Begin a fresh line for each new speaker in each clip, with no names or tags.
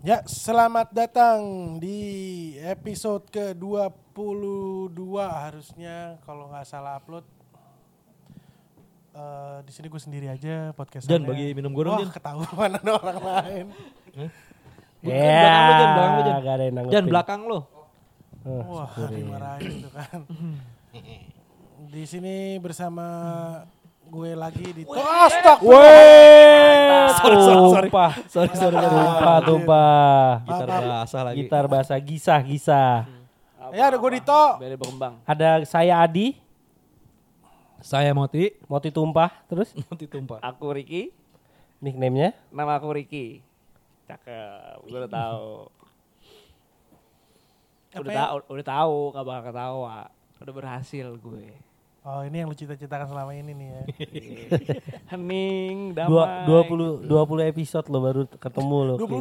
Ya, selamat datang di episode ke-22 harusnya kalau nggak salah upload. Eh, di sini gue sendiri aja podcast.
Jan, bagi minum gue
Wah,
dong, Jan.
ketahuan ada orang lain.
Bukan, belakang lu, Jan, belakang lu, Jan. Jan
Ya. gak Oh, ada yang nanggepin.
belakang lo.
Eh,
Wah, dimarahin itu kan. Di sini bersama gue lagi di Oh, Tostok.
Weh,
Sorry, sorry, sorry.
tumpah,
Sorry sorry
tumpah, tumpah.
Gitar basah lagi.
Gitar bahasa gisah, gisah.
Ya, ada gue Dito.
Biar dia berkembang.
Ada saya Adi,
Saya Moti.
mau tumpah terus
Moti tumpah.
Aku Riki,
nicknamenya.
nama aku Riki. Cakep, gue udah tahu.
Apa
udah
ya?
tahu, udah tahu, gak bakal ketawa. Udah berhasil gue.
Oh, ini yang lu cita-citakan selama ini nih ya.
Hening,
Dua, 20
damai.
20 episode lo baru ketemu lo. Ki.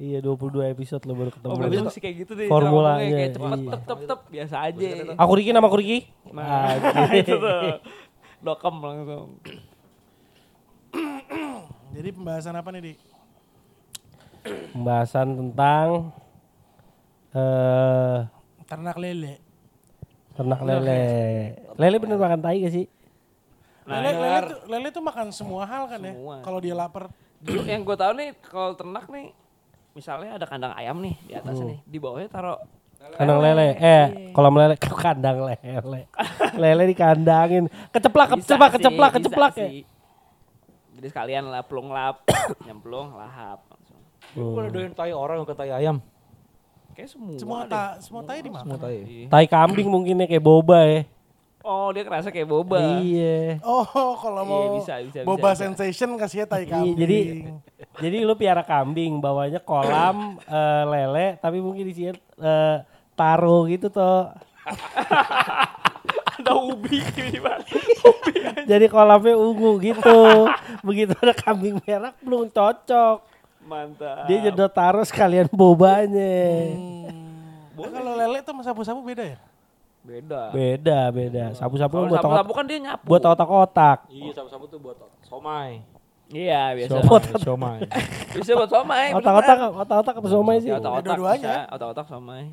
22.
Iya, 22 episode lo baru ketemu.
Oh,
lo.
berarti mesti kayak gitu deh.
Formulanya,
cara ngomongnya Kayak cepet,
iya.
tep, tep, tep, biasa aja.
Aku Riki nama aku Riki. Ah,
Nah, itu tuh. Dokem langsung.
Jadi pembahasan apa nih, Di?
Pembahasan tentang eh
Ternak lele.
ternak lele. Lele bener makan tai gak sih?
Nah,
Lele, lele, tuh, lele tuh makan semua hal kan ya.
Semua.
Kalau dia lapar.
Dulu yang gue tahu nih, kalau ternak nih, misalnya ada kandang ayam nih di atas
Hmm.
nih, di bawahnya taruh
Kandang lele, eh kolam lele, kandang lele, lele dikandangin, keceplak,
Bisa
keceplak,
sih,
keceplak,
bisa
keceplak ya.
sih. Jadi sekalian lah pelung lap, nyemplung lahap langsung.
Oh.
Gue udah doyan tai orang ke tai ayam.
Kayak semua.
Semua
deh.
ta, semua tai
Mau
dimakan.
tai.
Tai kambing mungkin ya kayak boba ya.
Oh, dia kerasa kayak boba.
Iya.
Oh, kalau mau
bisa, bisa,
boba
bisa, bisa.
sensation kasihnya tai
Iya,
kambing.
jadi jadi lu piara kambing, bawanya kolam eh, lele, tapi mungkin isinya eh, taro gitu toh.
Ada ubi tiba-tiba.
Jadi kolamnya ungu gitu. Begitu ada kambing merah belum cocok.
Mantap.
Dia nyedot taro sekalian bobanya.
Hmm.
Nah, Hmm. kalau lele tuh sama sapu-sapu beda ya?
beda.
Beda, beda. Sapu-sapu
Kalau
buat
sapu-sapu
otak-
kan dia nyapu.
buat otak-otak.
Iya, sama-sama tuh buat somai.
Iya, biasa.
Somai,
somai.
Bisa buat somai. bener.
Otak-otak, otak-otak apa somai sih?
Ya, otak-otak.
Dua-duanya.
bisa, Otak-otak somai.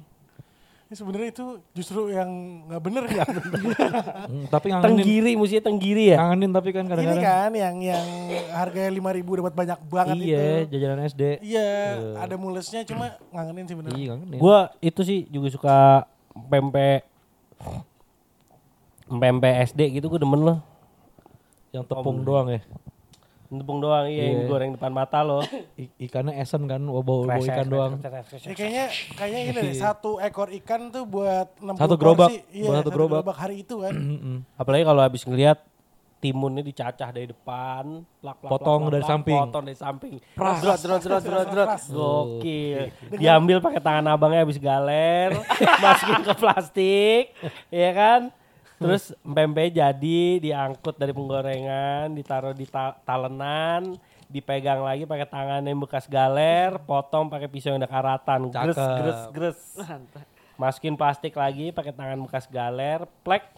Ini sebenarnya itu justru yang nggak bener ya.
Hmm, tapi ngangenin.
Tenggiri, musiknya tenggiri ya?
Ngangenin tapi kan
Ini
kadang-kadang.
kan yang yang harganya lima ribu dapat banyak banget
Iya,
itu.
jajanan SD.
Iya, ada mulesnya cuma ngangenin sih bener.
Iya, ngangenin.
Gue itu sih juga suka pempek pempek SD gitu gue demen loh.
Yang
Oh,
tepung doang
iya.
ya.
Tepung doang iya yang
Iya.
goreng depan mata lo.
I- ikannya esen kan, bau bau
Kresek,
ikan
kresek,
doang.
kresek, kresek.
Ya, kayaknya kayaknya ini deh, satu ekor ikan tuh buat 60
Satu gerobak,
porsi.
buat
Iya,
satu gerobak.
hari itu kan.
Mm-mm.
Apalagi kalau habis ngeliat timunnya dicacah dari depan, plak, plak,
Potong dari samping.
potong dari samping, jerot jerot jerot jerot jerot,
Pras.
iya,
gokil. Diambil pakai tangan abangnya habis galer, masukin ke plastik, ya kan? Terus pempek jadi diangkut dari penggorengan, ditaruh di ta- talenan, dipegang lagi pakai tangan yang bekas galer, potong pakai pisau yang ada karatan, gres
Cakep.
gres gres masukin plastik lagi pakai tangan bekas galer, plek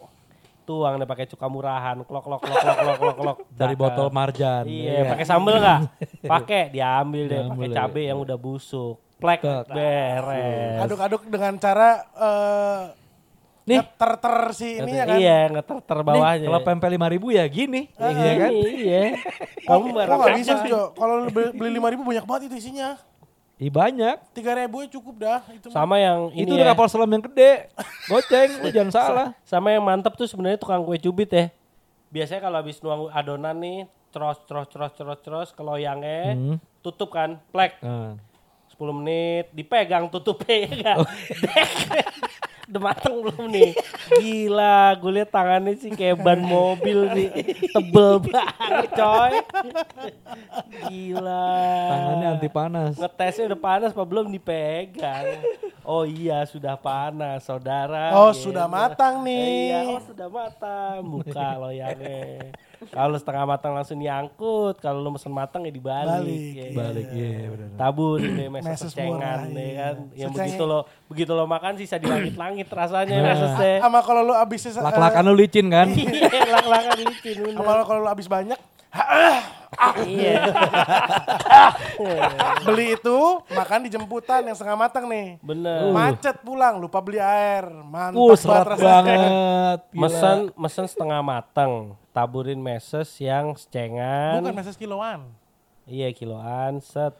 tuang deh pakai cuka murahan, klok klok klok klok klok klok klok
Dari
Cakep.
botol marjan.
Iya, pakai sambel nggak? Pakai, diambil
Diambil
deh,
iya.
pakai
deh.
cabe yang udah busuk, plek
Tet.
beres.
Aduk-aduk dengan cara eh
Nih.
ter ter si ini ya kan.
Iya, ngeter-ter bawahnya.
Nih, kalau pempek 5000 ya gini.
iya kan? Iya. Kamu
Kok
barang
nggak bisa
apa?
Jo? Kalau lu beli beli lima ribu banyak banget itu isinya.
Ih banyak.
Tiga ribu ya cukup dah. Itu mah.
Sama yang ini
itu udah
ya.
kapal selam yang gede. Goceng, lu jangan salah.
Sama yang mantep tuh sebenarnya tukang kue cubit ya. Biasanya kalau habis nuang adonan nih, terus terus terus terus terus keloyangnya,
Hmm.
tutup kan, plek.
Nah,
10 menit dipegang tutupnya ya enggak. Udah mateng belum nih? Gila, gue liat tangannya sih kayak ban mobil nih. Tebel banget coy. Gila.
tangannya anti panas.
Ngetesnya udah panas apa belum dipegang? Oh iya sudah panas saudara.
Oh,
Gitu.
sudah matang nih.
Iya, oh sudah matang. Buka loyangnya. Kalau setengah matang langsung diangkut, kalau lu mesen matang ya dibalik.
Balik,
Ya.
Balik, iya benar.
Tabur deh
Meses
meses cengan
murah,
ya
iya.
kan. Yang
Secengnya-
begitu lo begitu lo makan sisa di langit-langit rasanya mesesnya.
Sama kalau lu abis
Lak-lakan lu licin kan?
eh,
Iya, lak-lakan licin bener.
Sama kalau lu abis banyak.
Iya.
Beli itu makan di jemputan yang setengah matang nih.
Bener.
Macet pulang, lupa beli air. Mantap
Uh, serat
rasanya.
banget. gila.
Mesen mesen setengah mateng, taburin meses yang secengan.
Bukan meses kiloan.
Iya kiloan set.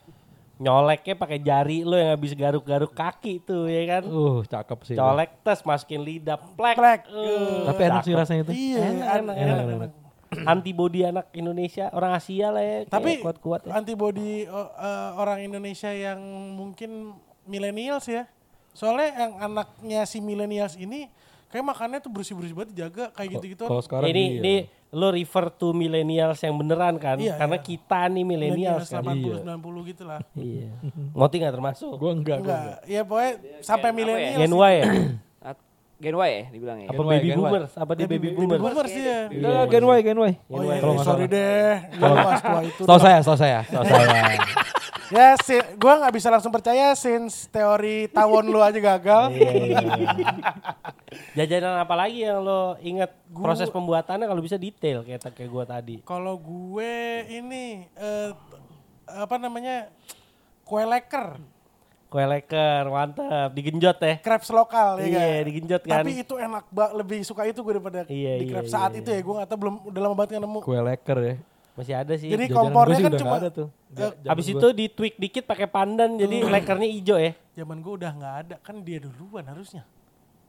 Nyoleknya pakai jari lo yang habis garuk-garuk kaki tuh ya kan.
Uh, cakep sih.
Colek tes masukin lidah plek.
Plek.
Uh,
Tapi enak sih
cakep.
rasanya itu.
Iya,
Gitu. Enak,
enak,
enak,
enak,
enak.
enak.
Antibody anak Indonesia, orang Asia lah ya. kayak
Tapi
kuat-kuat ya.
antibody o- eh, orang Indonesia yang mungkin millennials ya. Soalnya yang anaknya si millennials ini kayak makannya tuh bersih-bersih banget dijaga kayak gitu-gitu.
Kalau sekarang
ini
iya.
ini lo refer to millennials yang beneran kan?
Iya,
Karena
iya.
kita nih millennials kan.
80 90 gitu lah.
Iya. Ngoti nggak termasuk.
Gua enggak. gua enggak.
Enggak, ya pokoknya sampai milenial sih.
Gen Y ya?
At- Gen Y ya dibilangnya.
Apa
Gen Y,
baby
Gen Y.
boomers? Apa dia baby boomer?
Boomer sih ya.
Enggak, Iya, Gen Y, Gen Y.
Oh
Gen Y,
iya,
kalau
iya,
nggak
sorry deh. Lu pas tua itu.
Tahu saya, tahu saya.
salah. Tahu saya.
Ya, si, gue nggak bisa langsung percaya since teori tawon lu aja gagal.
Iya, iya, iya. Jajanan apa lagi yang lo inget proses pembuatannya kalau bisa detail kayak kayak gua tadi.
Kalau gue ini eh, apa namanya kue leker,
Kue leker, mantap, digenjot ya.
crepes lokal ya
Iya,
kan?
digenjot kan.
Tapi itu enak banget, lebih suka itu gue daripada
Iya,
di
iya,
crepes
iya,
saat
iya.
itu ya. Gue nggak tahu belum udah lama banget nggak nemu.
Kue leker ya.
Masih ada sih.
Jadi
Jajanan
kompornya
gua sih
kan
udah
cuma
nggak ada tuh.
eh,
Jajanan
Habis
gua.
itu ditweak dikit pakai pandan jadi lekernya hijau ya.
zaman gue udah nggak ada kan dia duluan harusnya.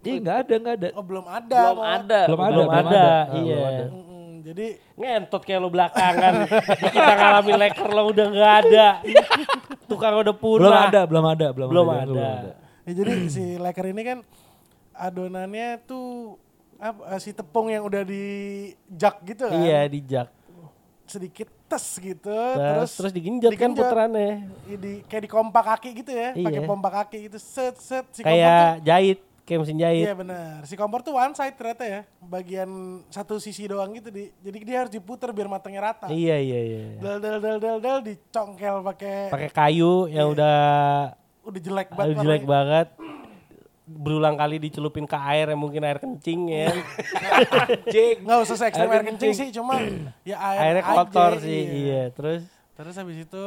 Iya nggak ada nggak ada.
Oh belum ada.
Belum
Mak.
ada.
Belum ada,
Belum
belum
ada,
ada. Ah,
iya.
belum ada.
Mm-mm, jadi
Ngentot kayak lo belakangan. Kita ngalamin leker lo udah nggak ada. Tukang udah punah.
Belum ada, belum ada, belum,
Belum
ada.
ada.
Ya, jadi si leker ini kan adonannya tuh apa, eh, si tepung yang udah dijak gitu kan.
Iya dijak.
Sedikit tes gitu.
Terus terus digenjot kan
digenjot.
puterannya.
Iya, di- kayak di kompak kaki gitu ya. Pakai
Iya.
pompa kaki gitu. Set set si kompor tuh-
Kayak jahit, kayak mesin jahit.
Iya benar. Si kompor tuh one side ternyata ya. Bagian satu sisi doang gitu di. Jadi dia harus diputer biar matangnya rata.
Iya iya iya.
Del del del del del dicongkel pakai
Pakai kayu yang udah
udah jelek banget.
aduh, jelek
warnanya.
banget. Berulang kali dicelupin ke air yang mungkin air kencing ya.
Jeng.
Nggak usah se ekstrem
Air
air kencing sih, cuma ya air
Airnya
aja,
kotor sih. Iya, terus
Terus habis itu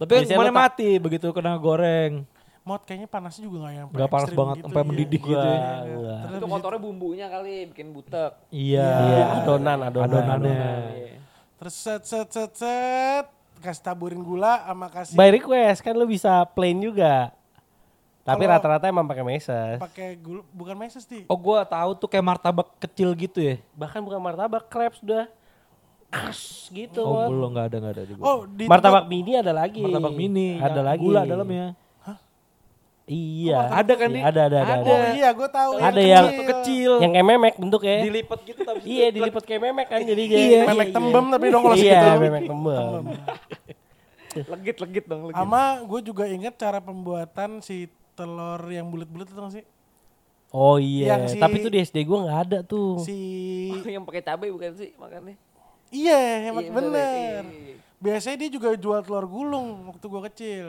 Tapi kan
Biasanya
semuanya
letak-
mati begitu kena goreng.
mod kayaknya panasnya juga nggak yang
Nggak panas
ekstrim
banget, sampai mendidih
iya.
gitu ya.
Iya, iya.
Wah,
Terus
Itu
habis itu,
motornya bumbunya kali bikin butek.
Iya.
iya, adonan, adonan.
Adonannya.
Iya.
terus set set set set kasih taburin gula sama kasih
By request kan lu bisa plain juga. Tapi
Kalau-
rata-rata emang pakai meses.
pakai gula bukan meses sih.
Oh gua tahu tuh kayak martabak kecil gitu ya.
Bahkan bukan martabak, crepes udah khas gitu.
Oh
Mon.
belum nggak ada nggak ada di gua.
Oh, di
martabak mini ada lagi.
martabak mini.
Ada
yang
lagi.
Gula dalamnya.
Iya.
Ada kan
Iya,
nih?
ada, ada, ada.
tempat- Oh iya, gue tahu.
Ada yang-
Tuh kecil.
Yang kayak memek bentuknya.
Dilipet gitu tapi
iya, dilipat kayak memek kan jadi dia.
Iya.
memek tembem tapi dong kalau
Iya,
segitu.
memek tembem. Iya.
Legit-legit dong, legit.
Sama gue juga inget cara pembuatan si telur yang bulat-bulat itu nggak sih?
Oh iya,
Yang si-
tapi itu di SD gua nggak ada tuh.
Si
yang pakai cabai bukan sih makannya?
Iya, hemat
Iya, bener ya,
bener.
iya, iya, iya.
Biasanya dia juga jual telur gulung waktu gue kecil.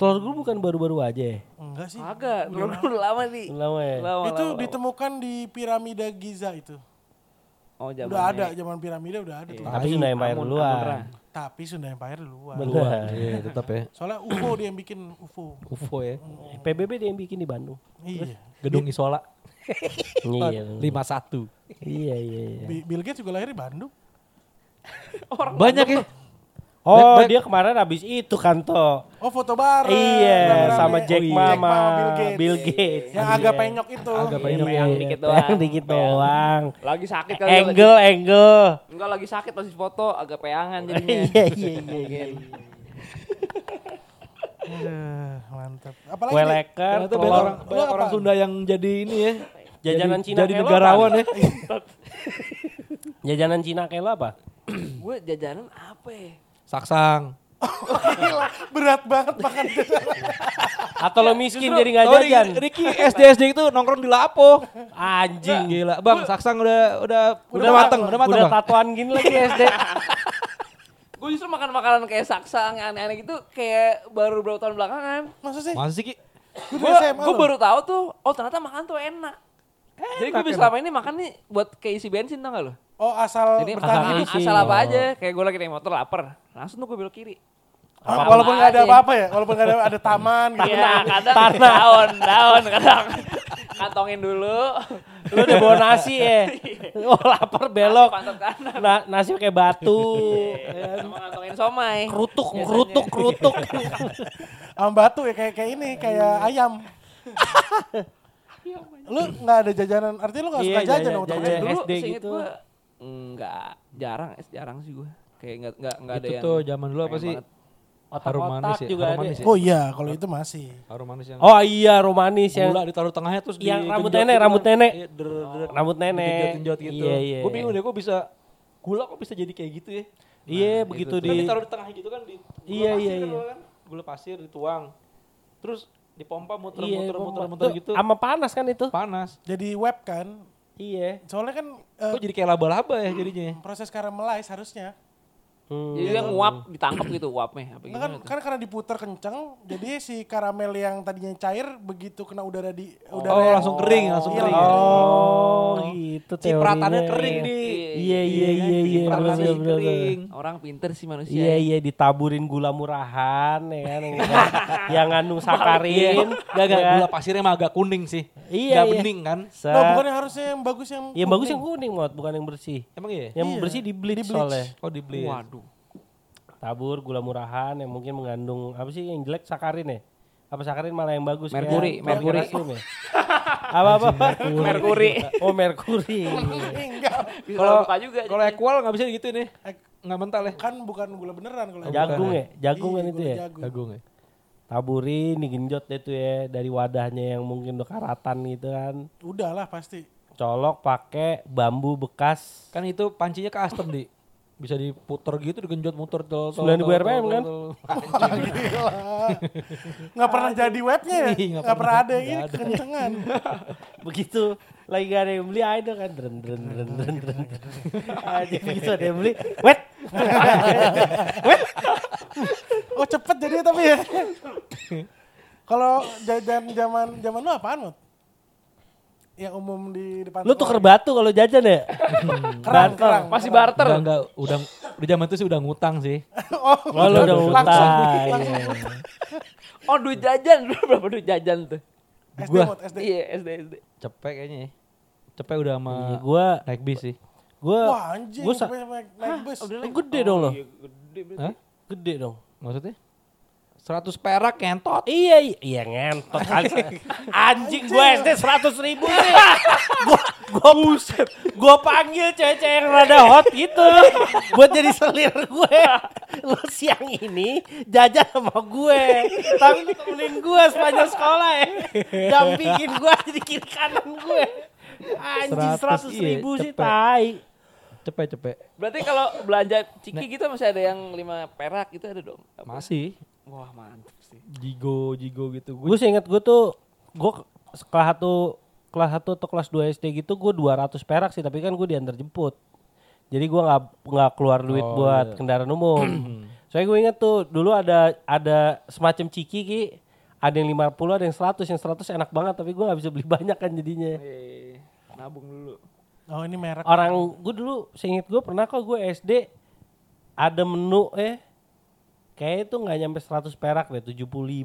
Telur gulung bukan baru-baru aja ya?
Enggak sih.
Agak, telur dulu lama nih.
Lama ya?
Lama,
itu
lama, lama.
ditemukan di piramida Giza itu.
Oh, zaman
udah ada zaman piramida udah ada tuh.
Tapi Sunda Empire
Amun, Amun Ra.
duluan.
Tapi Sunda Empire duluan.
Iya. Bener.
Iya tetap ya.
Soalnya UFO dia yang bikin UFO.
UFO ya.
PBB dia yang bikin di Bandung.
Iya.
Gedung Isola
iya,
51.
iya, iya. iya.
Bi- Bill Gates juga lahir di Bandung.
Banyak ya.
Oh,
Back- back.
dia kemarin habis itu kan toh.
Oh foto bareng.
Iya,
rame-rame.
sama Jack
Oh,
Ma, sama
Bill Gates.
Bill Gates.
Yang agak penyok itu.
Agak
Iya,
penyok.
Yang
iya,
dikit
pegang
doang.
dikit
Pegang.
doang.
Lagi sakit kali. dia
Angle, angle.
lagi- Enggak lagi sakit pas foto agak peangan jadinya.
Iya, iya, iya, iya.
Aduh, mantap. Apalagi
Kue
nih?
leker,
Ternyata banyak
telur.
orang, banyak
apa?
orang Sunda yang jadi ini ya.
Jajanan
jadi,
Cina
Jadi
kayak lo
negarawan ya.
Jajanan Cina kayak lo apa?
Gue jajanan apa ya?
Saksang.
Gila, berat banget makan
Atau lo miskin jadi nggak
Oh, Ri-
jajan?
Ricky SD SD itu nongkrong di Lapo.
Anjing.
Gila, Bang, Saksang udah udah udah, mateng, udah mateng,
Udah
Bang.
tatuan gini lagi SD.
Gue justru makan makanan kayak saksa yang aneh-aneh gitu kayak baru beberapa tahun belakangan.
Maksud sih?
Masih Ki.
Gue
Gue
dari SMA
gue
loh.
baru tahu tuh, oh ternyata makan tuh enak. Jadi gue bisa selama ini makan nih buat keisi bensin tau gak lo?
Oh asal
Jadi
bertahan
asal,
hidup.
asal apa aja, kayak gue lagi naik motor lapar, langsung tuh gue belok kiri.
Ah, walaupun nggak
Iya.
ada
aja.
apa-apa ya, walaupun nggak ada ada taman gitu.
Iya, kadang daun, daun, kadang kantongin dulu.
Lu udah bawa nasi ya.
Iya.
Oh lapar belok.
Pantat kanan.
Na- nasi pakai batu.
Iya.
Sama kantongin somai.
kerutuk, kerutuk, kerutuk.
Sama batu ya kayak kayak ini, kayak
Iya.
ayam. lu nggak ada jajanan, artinya lu nggak
Iya,
suka jajan
jajan-
dong temen dulu.
jajan.
Eh, Dulu
SD
seinget
gitu.
gue, enggak, jarang, es jarang sih gue. Kayak enggak, enggak, enggak ada
Itu
yang.
tuh zaman dulu apa
pengen
sih?
banget.
Harum manis
Otak-otak
ya.
juga
Harum
ada.
manis ya.
Oh iya, kalau itu masih.
Harum manis yang
Oh iya romanis yang
gula ditaruh tengahnya terus
Yang
digenjot
rambut nenek,
gitu.
rambut nenek.
Iya, der, der,
rambut nenek.
Digenjot-genjot gitu.
Iya, iya.
Gue bingung deh gue bisa gula kok bisa jadi kayak gitu ya.
Iya, begitu
Kan
di
ditaruh di tengah gitu kan di gula
Iya,
pasir
iya,
kan
iya.
dulu kan. Gula pasir dituang. Terus dipompa
Iya,
muter-muter
pom-
muter-muter
tuh,
gitu.
Sama panas kan itu?
Panas.
Jadi web kan,
Iya.
soalnya kan eh,
Kok jadi kayak laba-laba ya jadinya.
proses karamelize harusnya.
Hmm.
Jadi dia nguap, ditangkap gitu uapnya. Apa
Nah,
gimana
kan,
tuh?
kan karena diputer kenceng, jadi si karamel yang tadinya cair begitu kena udara di udara.
Oh
yang-
langsung kering, langsung
Iya,
kering.
langsung
Oh, gitu
Cipratannya
teorinya.
kering di. kan?
Iya, iya, iya, iya. bener,
Cipratannya
bener, bener, bener.
kering.
Orang pinter sih manusia. ya.
Iya iya ditaburin gula murahan ya kan yang, yang ngandung
Iya,
sakarin
gak, gak,
ya.
gula pasirnya emang agak kuning sih.
Iya,
Gak
iya.
bening kan.
Set.
Nah, bukannya harusnya yang bagus yang
yang bagus yang
kuning.
kuning mot bukan yang bersih.
Emang iya?
Yang
Iya,
bersih di bleach,
di bleach.
soalnya.
Oh dibeli.
Waduh.
Tabur gula murahan yang mungkin mengandung apa sih yang jelek sakarin ya? Apa sakarin malah yang bagus? ya? kayak
Merkuri,
kayak
merkuri.
kerasium ya? apa apa?
Merkuri.
Oh merkuri.
Enggak,
Kalau Iya, buka juga.
Kalau
jadi.
equal gak bisa gitu nih.
Eh,
Gak mental ya.
kan Oh, bukan gula beneran kalau yang-
jagung ya, jagung kan
Iya,
itu
gula
ya.
jagung.
Jagung ya.
Taburin digenjot deh tuh ya dari wadahnya yang mungkin udah karatan gitu kan.
Udah lah pasti.
Colok pakai bambu bekas
Kan itu pancinya custom di. Bisa diputer gitu, digenjot muter. tol, tol, tol,
9000
tol,
RPM
tol,
kan?
tol.
Nggak pernah jadi webnya ya?
Ih, nggak
Nggak pernah ada
pernah.
ini
Nggak ada.
kencengan.
begitu lagi gak ada yang beli idol kan dren dren dren dren dren aja begitu ada yang beli wet
Oh cepet jadi tapi ya. Kalau jajan zaman zaman lu apaan Mut? Yang umum di depan.
lu tuker batu kalau jajan ya
kerang, kerang.
Masih
kerang.
barter.
Enggak, enggak. Udah, di zaman itu sih udah ngutang sih.
Oh,
oh lu udah
langsung,
ngutang
langsung
iya.
Oh duit jajan, berapa duit jajan tuh?
SD
Gua.
Mut, SD.
Iya SD SD.
Cepet kayaknya ya. Cepet udah sama
Iya, gua
naik bis sih.
gua
Wah Oh, iya, anjing,
gua sa-
sampai naik, naik bus.
gede dong lo
Hah?
gede dong
Maksudnya? 100 perak kentot.
iya iya iya, ngentot anjing. anjing gua SD seratus ribu nih gua gua gua panggil cewek-cewek yang rada hot gitu buat jadi selir gue lu siang ini jajan sama gue tapi lu temenin gue sepanjang sekolah ya dampingin gue jadi kiri kanan gue anjing
100,
seratus
iya,
ribu sih
cepet.
tai
Cepet, cepet.
Berarti kalau belanja ciki gitu masih ada yang lima perak gitu ada dong. Apa?
Masih.
Wah mantap sih.
Jigo, jigo gitu. Gua
gue sih inget gue tuh gue kelas satu kelas satu atau kelas 2 SD gitu gue 200 perak sih tapi kan gue diantar jemput jadi gue nggak nggak keluar duit buat kendaraan umum soalnya gue inget tuh dulu ada ada semacam ciki ki ada yang 50 ada yang 100 yang 100 enak banget tapi gue nggak bisa beli banyak kan jadinya
Eh, nabung dulu.
Oh ini merek.
orang gue dulu seinget gue pernah kok gue SD ada menu eh kayaknya tuh nggak nyampe 100 perak deh 75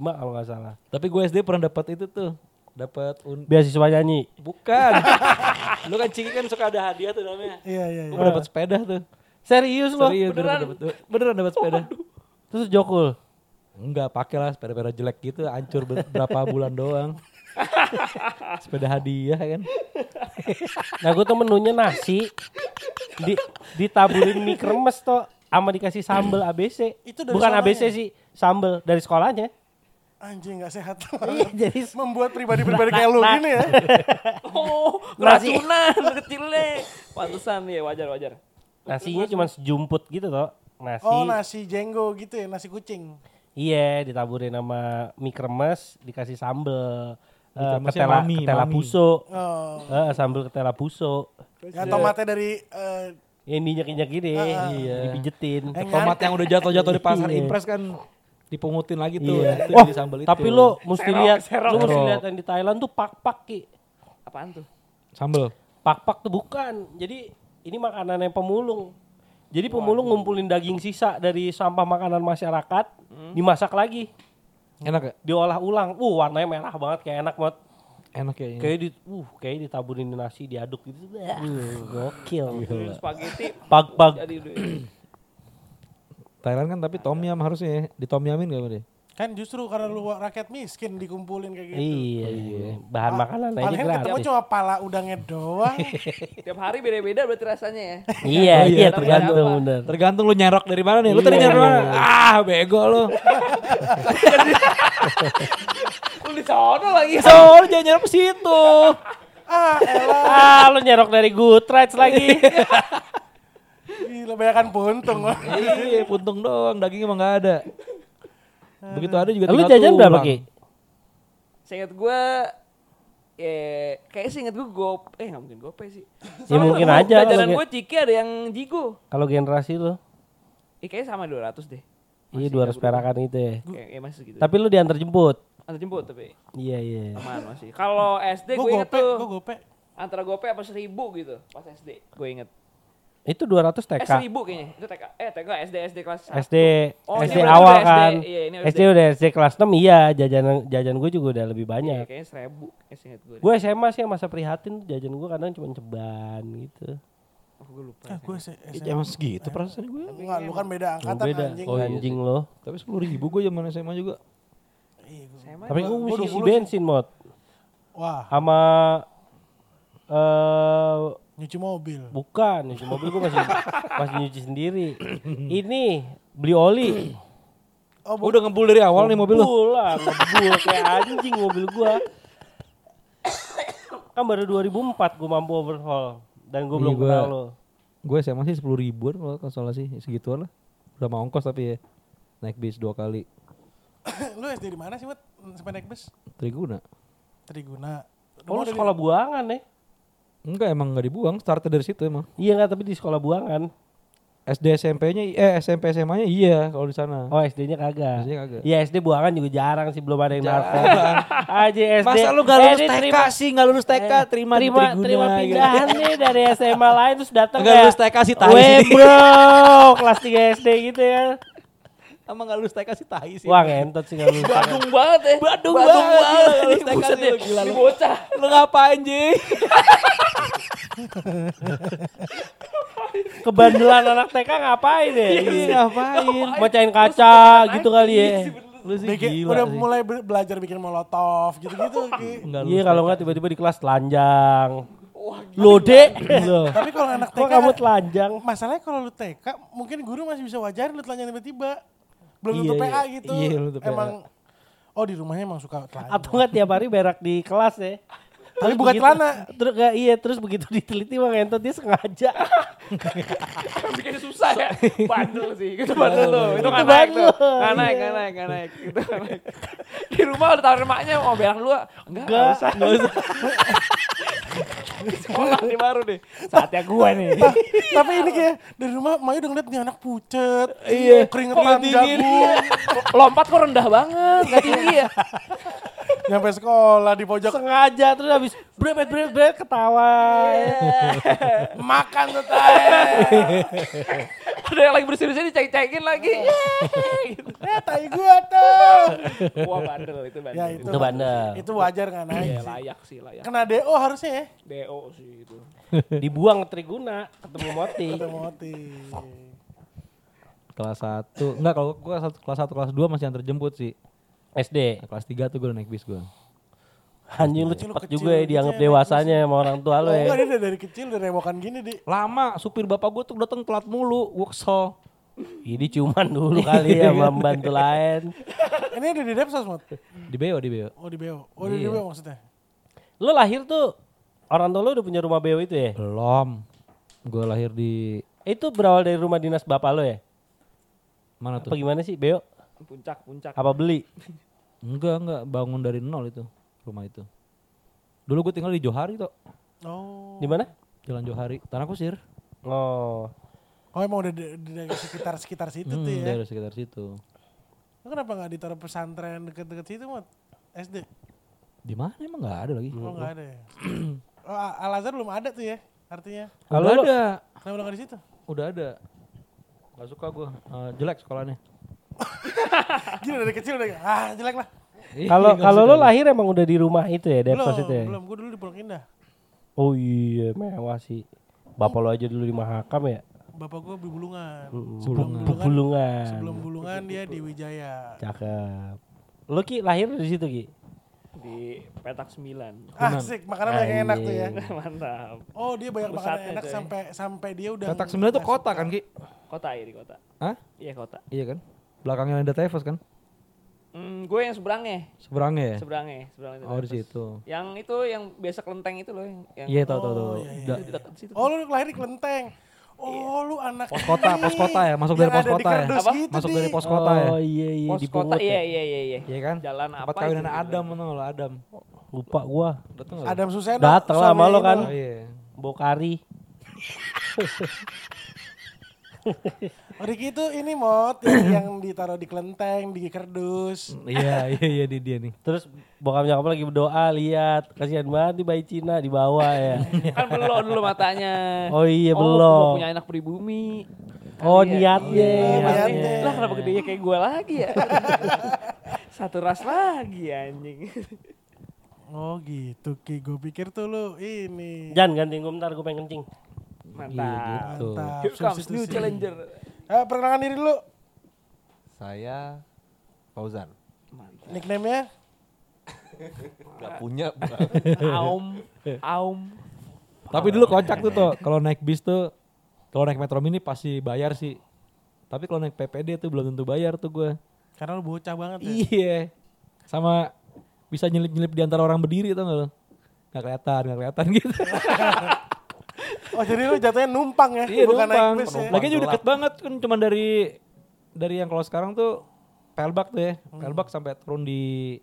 kalau nggak salah
Tapi gue SD pernah dapat itu tuh. Dapat un
beasiswa nyanyi
bukan. Lu kan ciki kan suka ada hadiah tuh namanya.
Iya iya. iya.
Gue dapat sepeda tuh. iya,
serius loh
Serius beneran dapat beneran dapat sepeda.
Terus Jokul.
Enggak, pakailah sepeda-sepeda jelek gitu, hancur ber- berapa bulan doang. sepeda hadiah kan.
Nah gue tuh menunya nasi. Di, ditaburin mie kremes tuh. Sama dikasih sambel ABC.
Itu dari
Bukan
sekolahnya?
ABC sih. Sambel dari sekolahnya.
Anjing nggak sehat.
Iya, jadi
Membuat pribadi-pribadi kayak lu gini ya.
Oh,
Nasi.
keracunan kecilnya. Pantesan ya wajar wajar.
nasinya cuma sejumput gitu toh. Nasi.
Oh nasi jenggo gitu ya, nasi kucing.
Iya ditaburin sama mie kremes. Dikasih sambel. eh,
Mie kremesnya
ketela,
mami,
ketela
mami.
puso.
Oh.
Eh, sambel ketela puso.
Ya tomatnya dari eh,
Yang dinyek-nyek gini.
Ah,
Iya. Dipijetin.
Eh,
Tomat yang udah jatuh-jatuh di pasar
Iya.
impres kan dipungutin lagi tuh. Itu
Wah,
jadi sambal itu.
Iya. Oh, tapi lo mesti
Serok,
lihat,
serok.
lo mesti
Serok.
lihat yang di Thailand tuh pak-pak ki.
Apaan tuh?
sambal.
Pak-pak tuh bukan. Jadi ini makanan yang pemulung. Jadi pemulung ngumpulin daging sisa dari sampah makanan masyarakat, dimasak lagi,
Enak ya?
diolah ulang. Uh, warnanya merah banget kayak enak banget.
Enak ya ini.
Kayak di uh, kayak ditaburin di nasi, diaduk gitu. Wah, Gokil.
Terus spaghetti
Pag pag
Iya. jadi gitu. duit.
Thailand kan tapi tom yum harusnya ya. Di tom yamin gak Budi?
Kan justru karena lu rakyat miskin dikumpulin kayak gitu.
Iya, iya. Bahan makanan aja
Palingan ketemu
gratis. Iya,
cuma pala udangnya doang.
Tiap hari beda-beda berarti rasanya ya.
Iya,
Oh, iya,
iya
tapi
tergantung
apa?
bener.
Tergantung lu nyerok dari mana nih. Lu tadi nyerok mana? Ah, bego lu.
Lu di sono lagi.
Soalnya jangan nyerok ke situ.
ah, elah.
Ah, lu nyerok dari good rights lagi.
Gila, banyakan puntung. loh.
Iya, puntung doang, dagingnya emang gak ada. Begitu ada juga
lu
tinggal
jajan berapa,
tulang.
Ki?
Seingat gue eh kayaknya seingat gue gop eh nggak mungkin gope sih.
Ya mungkin
gua-
aja
Jajanan
kalau
gue ciki ada yang jigo.
Kalau generasi lu,
Eh kayaknya sama 200 deh.
iya 200 perakan itu ya.
Kayak eh, masih gitu.
Tapi lu diantar jemput.
Antar jemput tapi
Iya, iya.
aman masih. Kalau SD
Gue
gue inget
gope,
tuh
gue gope.
antara gope apa seribu gitu pas SD gue inget.
Itu 200 TK.
Eh seribu kayaknya itu TK. Eh TK SD SD kelas. satu.
SD
Oh, ini
SD
berarti
awal
udah SD.
kan.
Iya, ini
SD.
SD.
udah SD kelas 6 iya jajanan jajan gue juga udah lebih
Iya,
banyak.
kayaknya seribu. Eh, seingat gue.
Gue SMA sih yang masa prihatin tuh jajan gue kadang cuma ceban gitu.
Oh, gue lupa.
Ah, gue sih.
Eh, Emang segitu perasaan gue.
Enggak, lu kan beda
Lu
angkatan
beda
anjing.
Oh, iya
anjing lo.
Tapi sepuluh ribu gue zaman SMA juga.
Iya, gua-
Saya mah
Tapi gue
gua
mesti
20
isi
sih.
bensin mod
Wah,
sama eh
nyuci mobil.
bukan nyuci mobil gue masih masih nyuci sendiri. Ini beli oli.
Oh,
Oh, udah ngebul dari awal nih mobil lu.
Ngebul lah, ngebul kayak anjing mobil gua. Kan baru 2004 gua mampu overhaul dan gua
Iya,
belum
gua-
kenal lo.
Gue SMA sih sepuluh ribuan kalau nggak salah sih segituan lah. Udah mau ongkos tapi ya naik bis dua kali
lu SD di mana sih, Mat? Hmm, Sampai naik bus?
Triguna.
Triguna. Rumah
Oh, lu
udah di-
sekolah buangan ya?
Enggak emang nggak dibuang, startnya dari situ emang.
Iya enggak, tapi di sekolah buangan.
SD SMP-nya eh SMP SMA-nya iya kalau di sana.
Oh, SD-nya kagak.
SD-nya kagak.
Iya, SD buangan juga jarang sih, belum ada yang narkoba. Aja SD.
Masa lu gak lulus
eh, ini
TK
terima- Eh,
sih, gak lulus TK, terima, di
terima,
Triguna,
terima
gitu.
pindahan nih dari SMA lain terus datang
Nggak lulus TK sih, tai
Weh,
sih."
bro, kelas 3 SD gitu ya.
Emang gak lulus TK sih tai sih.
Wah, ngentot sih nggak lulus.
Badung banget ya.
Badung banget, gila,
banget.
lu
Ini
tekad lu,
buset deh,
gila
ini
lu.
bocah.
Lu ngapain Ji?
Kebandelan anak TK ngapain ya?
Iya, ngapain?
Bocain kaca gitu kali ya.
Lu sih
Dia kayak
gila
udah
sih.
mulai be- belajar bikin molotov gitu-gitu. Ki.
Nggak
Iya
lulus
kalau
TK.
nggak tiba-tiba di kelas telanjang.
Wah,
Lo dek. Loh.
Tapi kalau anak
Kok
TK,
kamu telanjang?
masalahnya kalau lu TK, mungkin guru masih bisa wajarin lu telanjang tiba-tiba. Belum
Iya,
tentu
iya.
PA gitu.
Iya, belum tentu PA.
Emang, oh di rumahnya emang suka telanjang.
Atau nggak tiap hari berak di kelas ya?
Tapi bukan
gitu?
begitu-
celana.
Terus nggak iya terus begitu diteliti mah ngentot dia sengaja.
bikin susah ya. Bandel sih. Itu bandel tuh. Itu nggak
Itu
naik tuh.
bandel.
Nggak naik, nggak naik, nggak naik. Itu nggak naik. Di rumah udah tawarin maknya mau berak dulu. Enggak, nggak usah. Enggak usah. Sekolah nih baru deh. Saatnya gua nih.
Tapi ini kayak dari rumah Maya udah ngeliat nih anak pucet. Iya. Keringetan jagung.
Lompat kok rendah banget. Nggak tinggi ya.
Nyampe sekolah di pojok.
sengaja terus habis brebet brebet brebet ketawa.
Makan tuh tai.
Ada yang lagi bersih-bersih dicek-cekin lagi. Yeay, gitu.
Eh tai gua tuh.
Wah bandel itu bandel.
Ya itu.
Itu bandel.
Itu wajar kan
Ya,
naik. sih.
layak sih layak.
Kena DO harusnya ya.
DO sih itu.
Dibuang ke Triguna ketemu Moti.
Otomotif.
Kelas 1. Enggak kalau gue kelas 1 kelas 2 masih antar jemput sih.
SD.
Nah, kelas 3 tuh gue naik bis gue.
Anjing lu
Kecil,
cepet
kecil,
juga ya
kecil,
dianggap
naik
dewasanya sama orang tua
Oh,
lu ya.
enggak, dia dari kecil udah rewokan gini, Di.
Lama supir bapak gue tuh datang telat mulu, gue kesel.
Ini cuman dulu kali ya sama pembantu lain.
Ini udah di Depsos, Mot.
Di BO, di BO.
Oh, di BO. Oh, di BO maksudnya.
Lu lahir tuh orang tua lu udah punya rumah BW itu ya?
Belum. Gue lahir di
Itu berawal dari rumah dinas bapak lu ya?
mana
Apa
tuh?
gimana sih Beo?
Puncak puncak.
Apa beli?
Enggak, enggak bangun dari nol itu rumah itu. Dulu gue tinggal di Johari tuh.
Oh.
Di mana?
Jalan Johari, Tanah Kusir.
Oh.
Oh, emang udah di- di- dari sekitar-sekitar situ
Hmm,
tuh ya.
dari sekitar situ.
Lu kenapa nggak ditaruh pesantren deket-deket situ, Mot? SD?
Di mana emang nggak ada lagi?
Oh, nggak ada ya? Oh, Al- Al-Azhar belum ada tuh ya? Artinya
Kalau
Udah, lo-
ada,
kenapa udah nggak di situ?
udah ada. Gak suka gue, Eh, jelek sekolahnya.
Gila dari kecil udah ah jelek lah.
Kalau
Nggak
kalau
suka
lo
gua.
lahir emang udah di rumah itu ya, Depos
Belum,
itu ya.
belum. Gue dulu di Pondok Indah.
Oh iya, mewah sih. Bapak lo aja dulu di Mahakam ya.
Bapak gue di Bulungan. Sebelum
Bulungan.
Bulungan,
Bulungan.
Iya.
sebelum Bulungan dia di Wijaya.
Cakep. Lo Ki lahir di situ Ki.
di petak 9
Asik, makanan banyak yang enak tuh ya.
Hmm.
mantap
Oh, dia banyak makanan
Pusatnya
enak
tuh ya.
sampai sampai dia udah
Petak sembilan tuh kota kan Ki?
kota ya di kota
Hah?
iya kota
Iya kan? Belakangnya ada Tevez kan?
hmm, gue yang seberangnya
Seberangnya ya?
seberangnya seberangnya
Oh di situ.
yang itu yang biasa kelenteng itu loh yang, yang
Iya tau tau tau.
iya, iya,
Da-
di dekat situ
Oh, lu lahir di Klenteng. Oh, lu anak
Pos kota,
ini.
pos kota ya, masuk dari
Yang ada
pos
di
kota ya.
kardus
Apa?
gitu,
Masuk
Di.
dari pos kota ya?
Oh iya iya
pos
di
kota
Pungut
iya
ya.
iya iya iya
Iya kan?
jalan apa
Tempat kawinan
itu? gitu.
Adam mana lo Adam.
Lupa gua.
Dateng gak?
Adam Suseno.
Dateng lah sama
suami
lo
itu.
kan.
Oh iya.
Bokari.
Riki itu ini mod yang, yang ditaruh di Klenteng, di kardus.
Iya iya iya di dia nih.
Terus bokap nyokap lagi berdoa lihat kasihan banget nih bayi Cina di bawah ya.
kan belok dulu matanya
Oh iya,
oh,
belok.
gua punya anak pribumi
Oh,
Kali ya.
niatnya,
Iya,
niatnya.
niatnya. lah kenapa gedenya kayak gue lagi ya satu ras lagi anjing
Iya,
Oh gitu Ki, gue pikir tuh lu ini.
Jan gantiin gue bentar gue pengen kencing.
mantap
Tuh.
Mantap,
Here comes new
substitusi.
challenger
Eh, perkenalkan diri lu.
Saya Fauzan.
Nickname-nya?
Gak punya.
Aum, Aum.
Tapi dulu kocak tuh tuh kalau naik bis tuh kalau naik metro mini pasti bayar sih. Tapi kalau naik PPD tuh belum tentu bayar tuh gue.
Karena lu bocah banget ya.
Iya. Sama bisa nyelip-nyelip di antara orang berdiri tau gak lo? Gak kelihatan, gak kelihatan gitu.
Oh jadi lu jatuhnya numpang ya,
iya
bukan
numpang.
naik bis ya.
Lagi juga deket banget kan cuman dari dari yang kalau sekarang tuh Pelbak tuh ya. Pelbak sampai turun di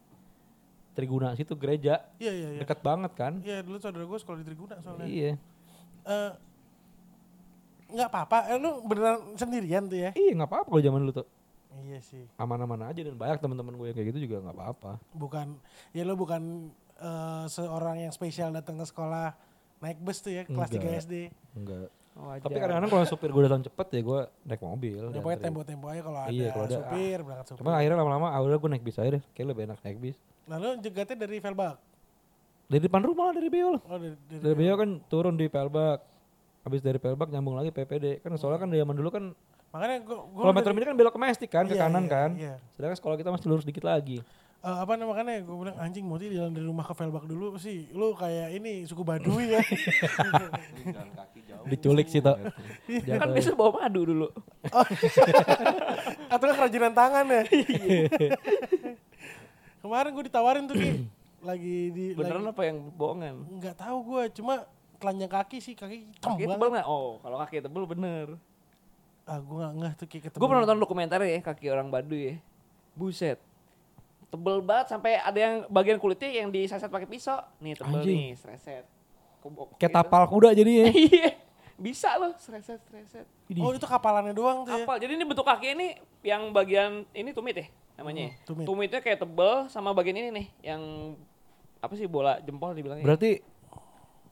Triguna situ gereja.
Iya iya iya.
Deket banget kan?
Iya dulu saudara gue sekolah di Triguna soalnya.
Iya.
Eh, nggak apa-apa, eh, lu beneran sendirian tuh ya?
Iya nggak apa-apa kalau zaman dulu tuh
Iya sih,
aman-aman aja dan banyak teman-teman gue yang kayak gitu juga nggak apa-apa.
bukan, ya lu bukan eh, seorang yang spesial datang ke sekolah naik bus tuh ya, kelas 3 SD.
Enggak.
Wajar.
kan
Tapi kadang-kadang kalau supir gue datang cepet ya gue naik mobil.
Udah
dianterin.
pokoknya tempo-tempo aja kalau ada,
Iya, kalau ada,
supir, berangkat supir.
Cuma akhirnya lama-lama akhirnya gue naik bis aja deh. Kayak lebih enak naik bis.
Lalu jegatnya dari Velbak.
Dari depan rumah lah dari Beo lah.
Oh, dari, dari-
Dari Beo kan turun di Pelbak. Habis dari Pelbak nyambung lagi PPD. Kan soalnya kan zaman dulu kan
makanya gua, gua
kalau metro mini kan belok ke Mestik kan ke
Iya,
kanan
iya,
kan.
iya.
Sedangkan sekolah kita masih lurus dikit lagi.
Eh, apa namanya makanya gue bilang anjing mau jalan dari rumah ke Velbak dulu sih lu kayak ini suku Baduy ya
Diculik sih tuh.
kan biasa bawa madu dulu.
atau nggak kerajinan tangan ya
Iya.
kemarin gue ditawarin tuh Ki. lagi di
Beneran
lagi-
apa yang bohongan?
nggak tahu gue cuma telanjang kaki sih kaki
Kaki
tebal
tebel nggak? Oh, kalau kaki tebel bener.
ah gue nggak ngeh tuh Ki ketemu
Gue pernah nonton dokumenter ya kaki orang Baduy ya. Buset. Tebel banget sampai ada yang bagian kulitnya yang diseset pakai pisau. Nih tebel
Anjing.
nih, sreset. Kebok
Kayak
gitu.
tapal kuda jadinya.
Iya. Bisa loh, sreset, sreset.
Iya.
oh itu kapalannya doang tuh ya
Apal. Jadi ini bentuk kaki ini yang bagian ini tumit ya namanya. ya?
Hmm, tumit.
Tumitnya kayak tebel sama bagian ini nih yang apa sih bola jempol dibilangnya. ya?
Berarti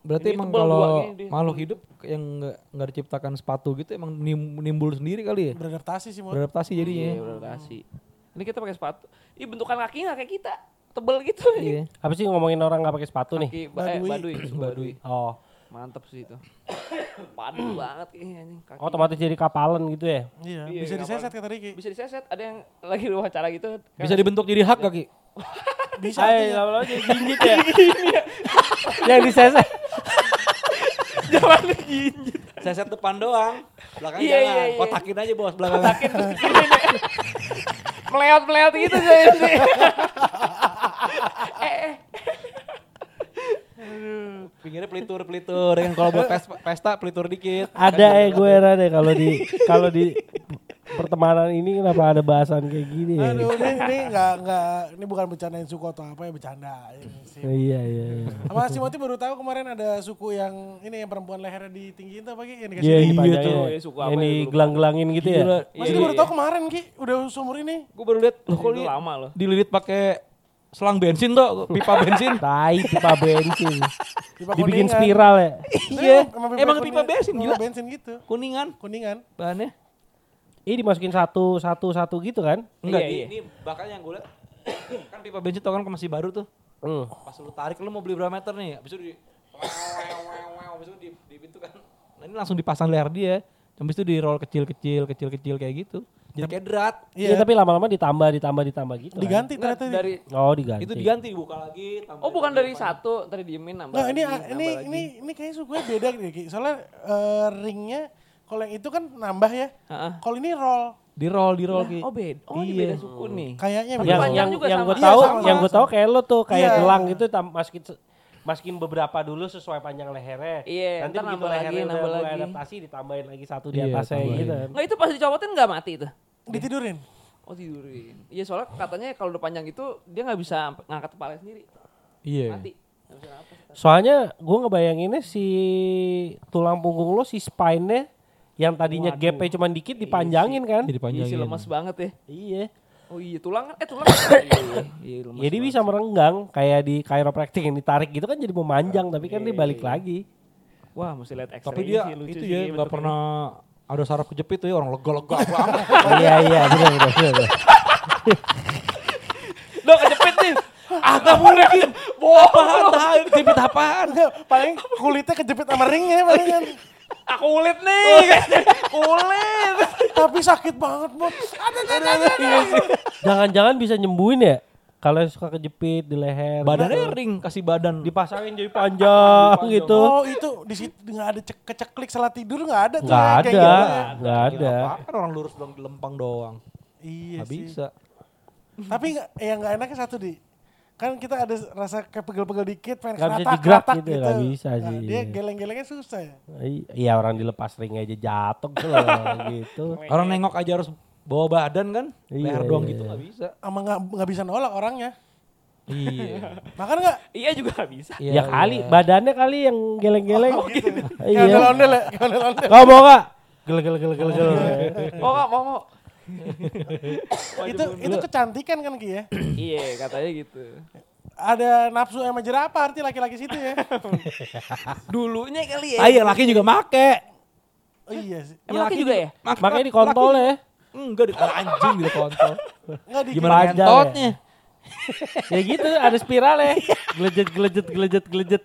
berarti
Iya. Ini
emang
tebal dua,
kalau
ini dia.
makhluk hidup yang nggak nggak diciptakan sepatu gitu emang nim- nimbul sendiri kali ya
beradaptasi sih mau
beradaptasi
Iya,
jadinya. ya?
beradaptasi. Ini kita pakai sepatu. Ih, bentukan kaki nggak kayak kita. Tebel gitu.
Iya.
Apa sih ngomongin orang nggak pakai sepatu nih?
Kaki ba- eh,
Baduy.
baduy. suku baduy.
Oh,
Mantep sih itu. Padu banget ini anjing. Kaki.
Oh,
otomatis jadi kapalan gitu ya.
iya
Iya,
bisa
kapalan.
diseset kata Riki
Bisa diseset, ada yang lagi wawancara gitu. kan
Bisa dibentuk jadi hak kaki.
bisa
iya,
Ay,
artinya
lama-lama jadi Eh, jinjit ya. Yang diseset.
Jalan gini.
Seset depan doang, belakang
Iya, iya, iya.
Kotakin aja bos belakang.
Meleot-meleot gitu saya ini. eh, eh.
Pinggirnya pelitur-pelitur. Dengan kalau buat pesta, pesta pelitur dikit.
Ada eh gue heran deh kalau di kalau di pertemanan ini kenapa ada bahasan kayak gini ya?
Iya,
aduh ini ini nggak nggak ini bukan bercandain suku atau apa ya bercanda ini sih
Iya iya. iya.
Sama si Moti baru tahu kemarin ada suku yang ini yang perempuan lehernya ditinggiin tuh apa Ki? Yang dikasih
Iya
di-
iya
dipanjangin.
tuh.
Iya, suka
Yang
apa ya, gue lupa.
digelang-gelangin gitu ya.
Gila.
iya.
Mas ini baru tahu kemarin Ki, udah seumur ini.
Gue baru lihat loh
Kok
kok
ini
ini
lama loh.
dililit pakai selang bensin tuh, pipa bensin.
Tai pipa bensin.
Pipa
Dibikin
kuningan.
spiral ya.
Iya,
Emang-
emang pipa
kuningan.
bensin Nah,
Pipa
gila.
bensin gitu.
Kuningan
Kuningan.
bahannya.
Ini Iya, dimasukin satu satu satu gitu kan?
Enggak,
Iya,
di-
iya.
ini bahkan yang gue liat kan pipa bensin tau kan masih baru tuh. Pas lu tarik lu mau beli berapa meter nih? Habis itu di habis itu di, di pintu kan. Nah, ini langsung dipasang leher dia. Habis itu di roll kecil-kecil, kecil-kecil kayak gitu. Jadi kayak drat.
Iya,
Iya.
tapi lama-lama ditambah ditambah ditambah gitu. kan?
Diganti
Nggak,
ternyata.
nah, dari
Oh, diganti.
Itu diganti buka lagi. tambah
Oh bukan
lagi,
dari satu, tadi diemin nambah
Nah, ini
lagi,
ini
nambah
ini
lagi.
ini kayaknya suku gue beda deh, Ki. Soalnya eh, ringnya kalau yang itu kan nambah ya.
Heeh.
Kalau ini roll
Di roll, di roll. Ki.
Oh beda, oh ini
Iya.
beda suku nih.
kayaknya
Tapi
yang
beda.
panjang
yang,
juga
yang
sama.
gue
Iya,
tahu
sama.
yang gue tahu kayak lo tuh kayak
Iya.
gelang gitu tam- masukin se- masukin beberapa dulu sesuai panjang lehernya.
Iya,
Nanti
ntar
begitu
nambah lagi,
lehernya udah
nambah
mulai
lagi.
adaptasi ditambahin lagi satu di
Iya,
atasnya
tambahin.
gitu.
Nggak itu pas dicopotin nggak mati itu?
Ditidurin.
Oh tidurin. Iya soalnya katanya kalau udah panjang itu dia nggak bisa ngangkat kepala sendiri.
Iya.
Mati. Nggak bisa apa.
Soalnya gue ngebayanginnya si tulang punggung lo si spine-nya yang tadinya
Waduh.
gapnya cuma dikit dipanjangin kan?
Jadi
Iya sih
panjangin.
lemas banget ya.
Iya.
Oh iya tulang kan, eh tulang. kan- iya, iya, lemas
Jadi
banget.
bisa merenggang kayak di chiropractic yang ditarik gitu kan jadi memanjang tapi kan dia balik lagi.
Wah mesti lihat X-ray
Tapi dia
sih, lucu
itu
sih
ya nggak
bentuknya.
pernah ada saraf kejepit tuh ya orang lega-lega banget.
iya iya benar benar. benar.
Lo kejepit nih.
ah nggak mungkin. Apaan? Tahu kejepit apaan?
paling kulitnya kejepit sama ringnya paling kan.
Ah kulit nih. kan? kulit.
tapi sakit banget, Bot. Ada ada Iya,
Jangan-jangan bisa nyembuhin ya? Kalau yang suka kejepit di leher.
Badannya ring kasih badan.
dipasangin jadi panjang gitu.
Oh, itu di situ nggak ada cek keceklik salah tidur nggak ada tuh.
Nggak
ya, kayak
ada,
gitu ya.
nggak ada.
Kan orang lurus doang di lempang doang.
Iya
Nggak
sih.
bisa.
Tapi nggak- yang nggak enaknya satu di kan kita ada rasa kayak pegel-pegel dikit pengen
Nggak bisa
keratak
digerak
keratak
gitu ya, nggak bisa
Nah,
sih,
dia
iya.
geleng-gelengnya susah ya.
I- Iya orang dilepas ring aja jatuh kalau gitu.
Orang nengok aja harus bawa badan kan.
Iya,
Leher doang
iya,
gitu
iya.
nggak bisa.
Ama nggak nggak bisa nolak orangnya.
Iya.
Makan nggak?
Iya juga nggak bisa.
ya kali
iya.
badannya kali yang geleng-geleng.
Oh, Kayak
Iya.
gitu. ondel-ondel ya, kayak ondel-ondel.
Kau mau nggak? Gel gel gel gel gel.
Iya.
Mau nggak mau mau.
itu itu kecantikan kan Ki ya.
Iya katanya gitu.
Ada nafsu sama jerapah arti laki-laki situ ya.
Dulunya kali ya.
Ah iya laki juga make.
Oh iya sih.
Emang laki juga ya?
Makanya di kontol ya.
Enggak di anjing di kontol.
Nggak di kan.
Gimana
Panjang ya?
kentotnya?
Ya gitu ada spiral ya.
Iya.
Gelejet gelejet gelejet gelejet.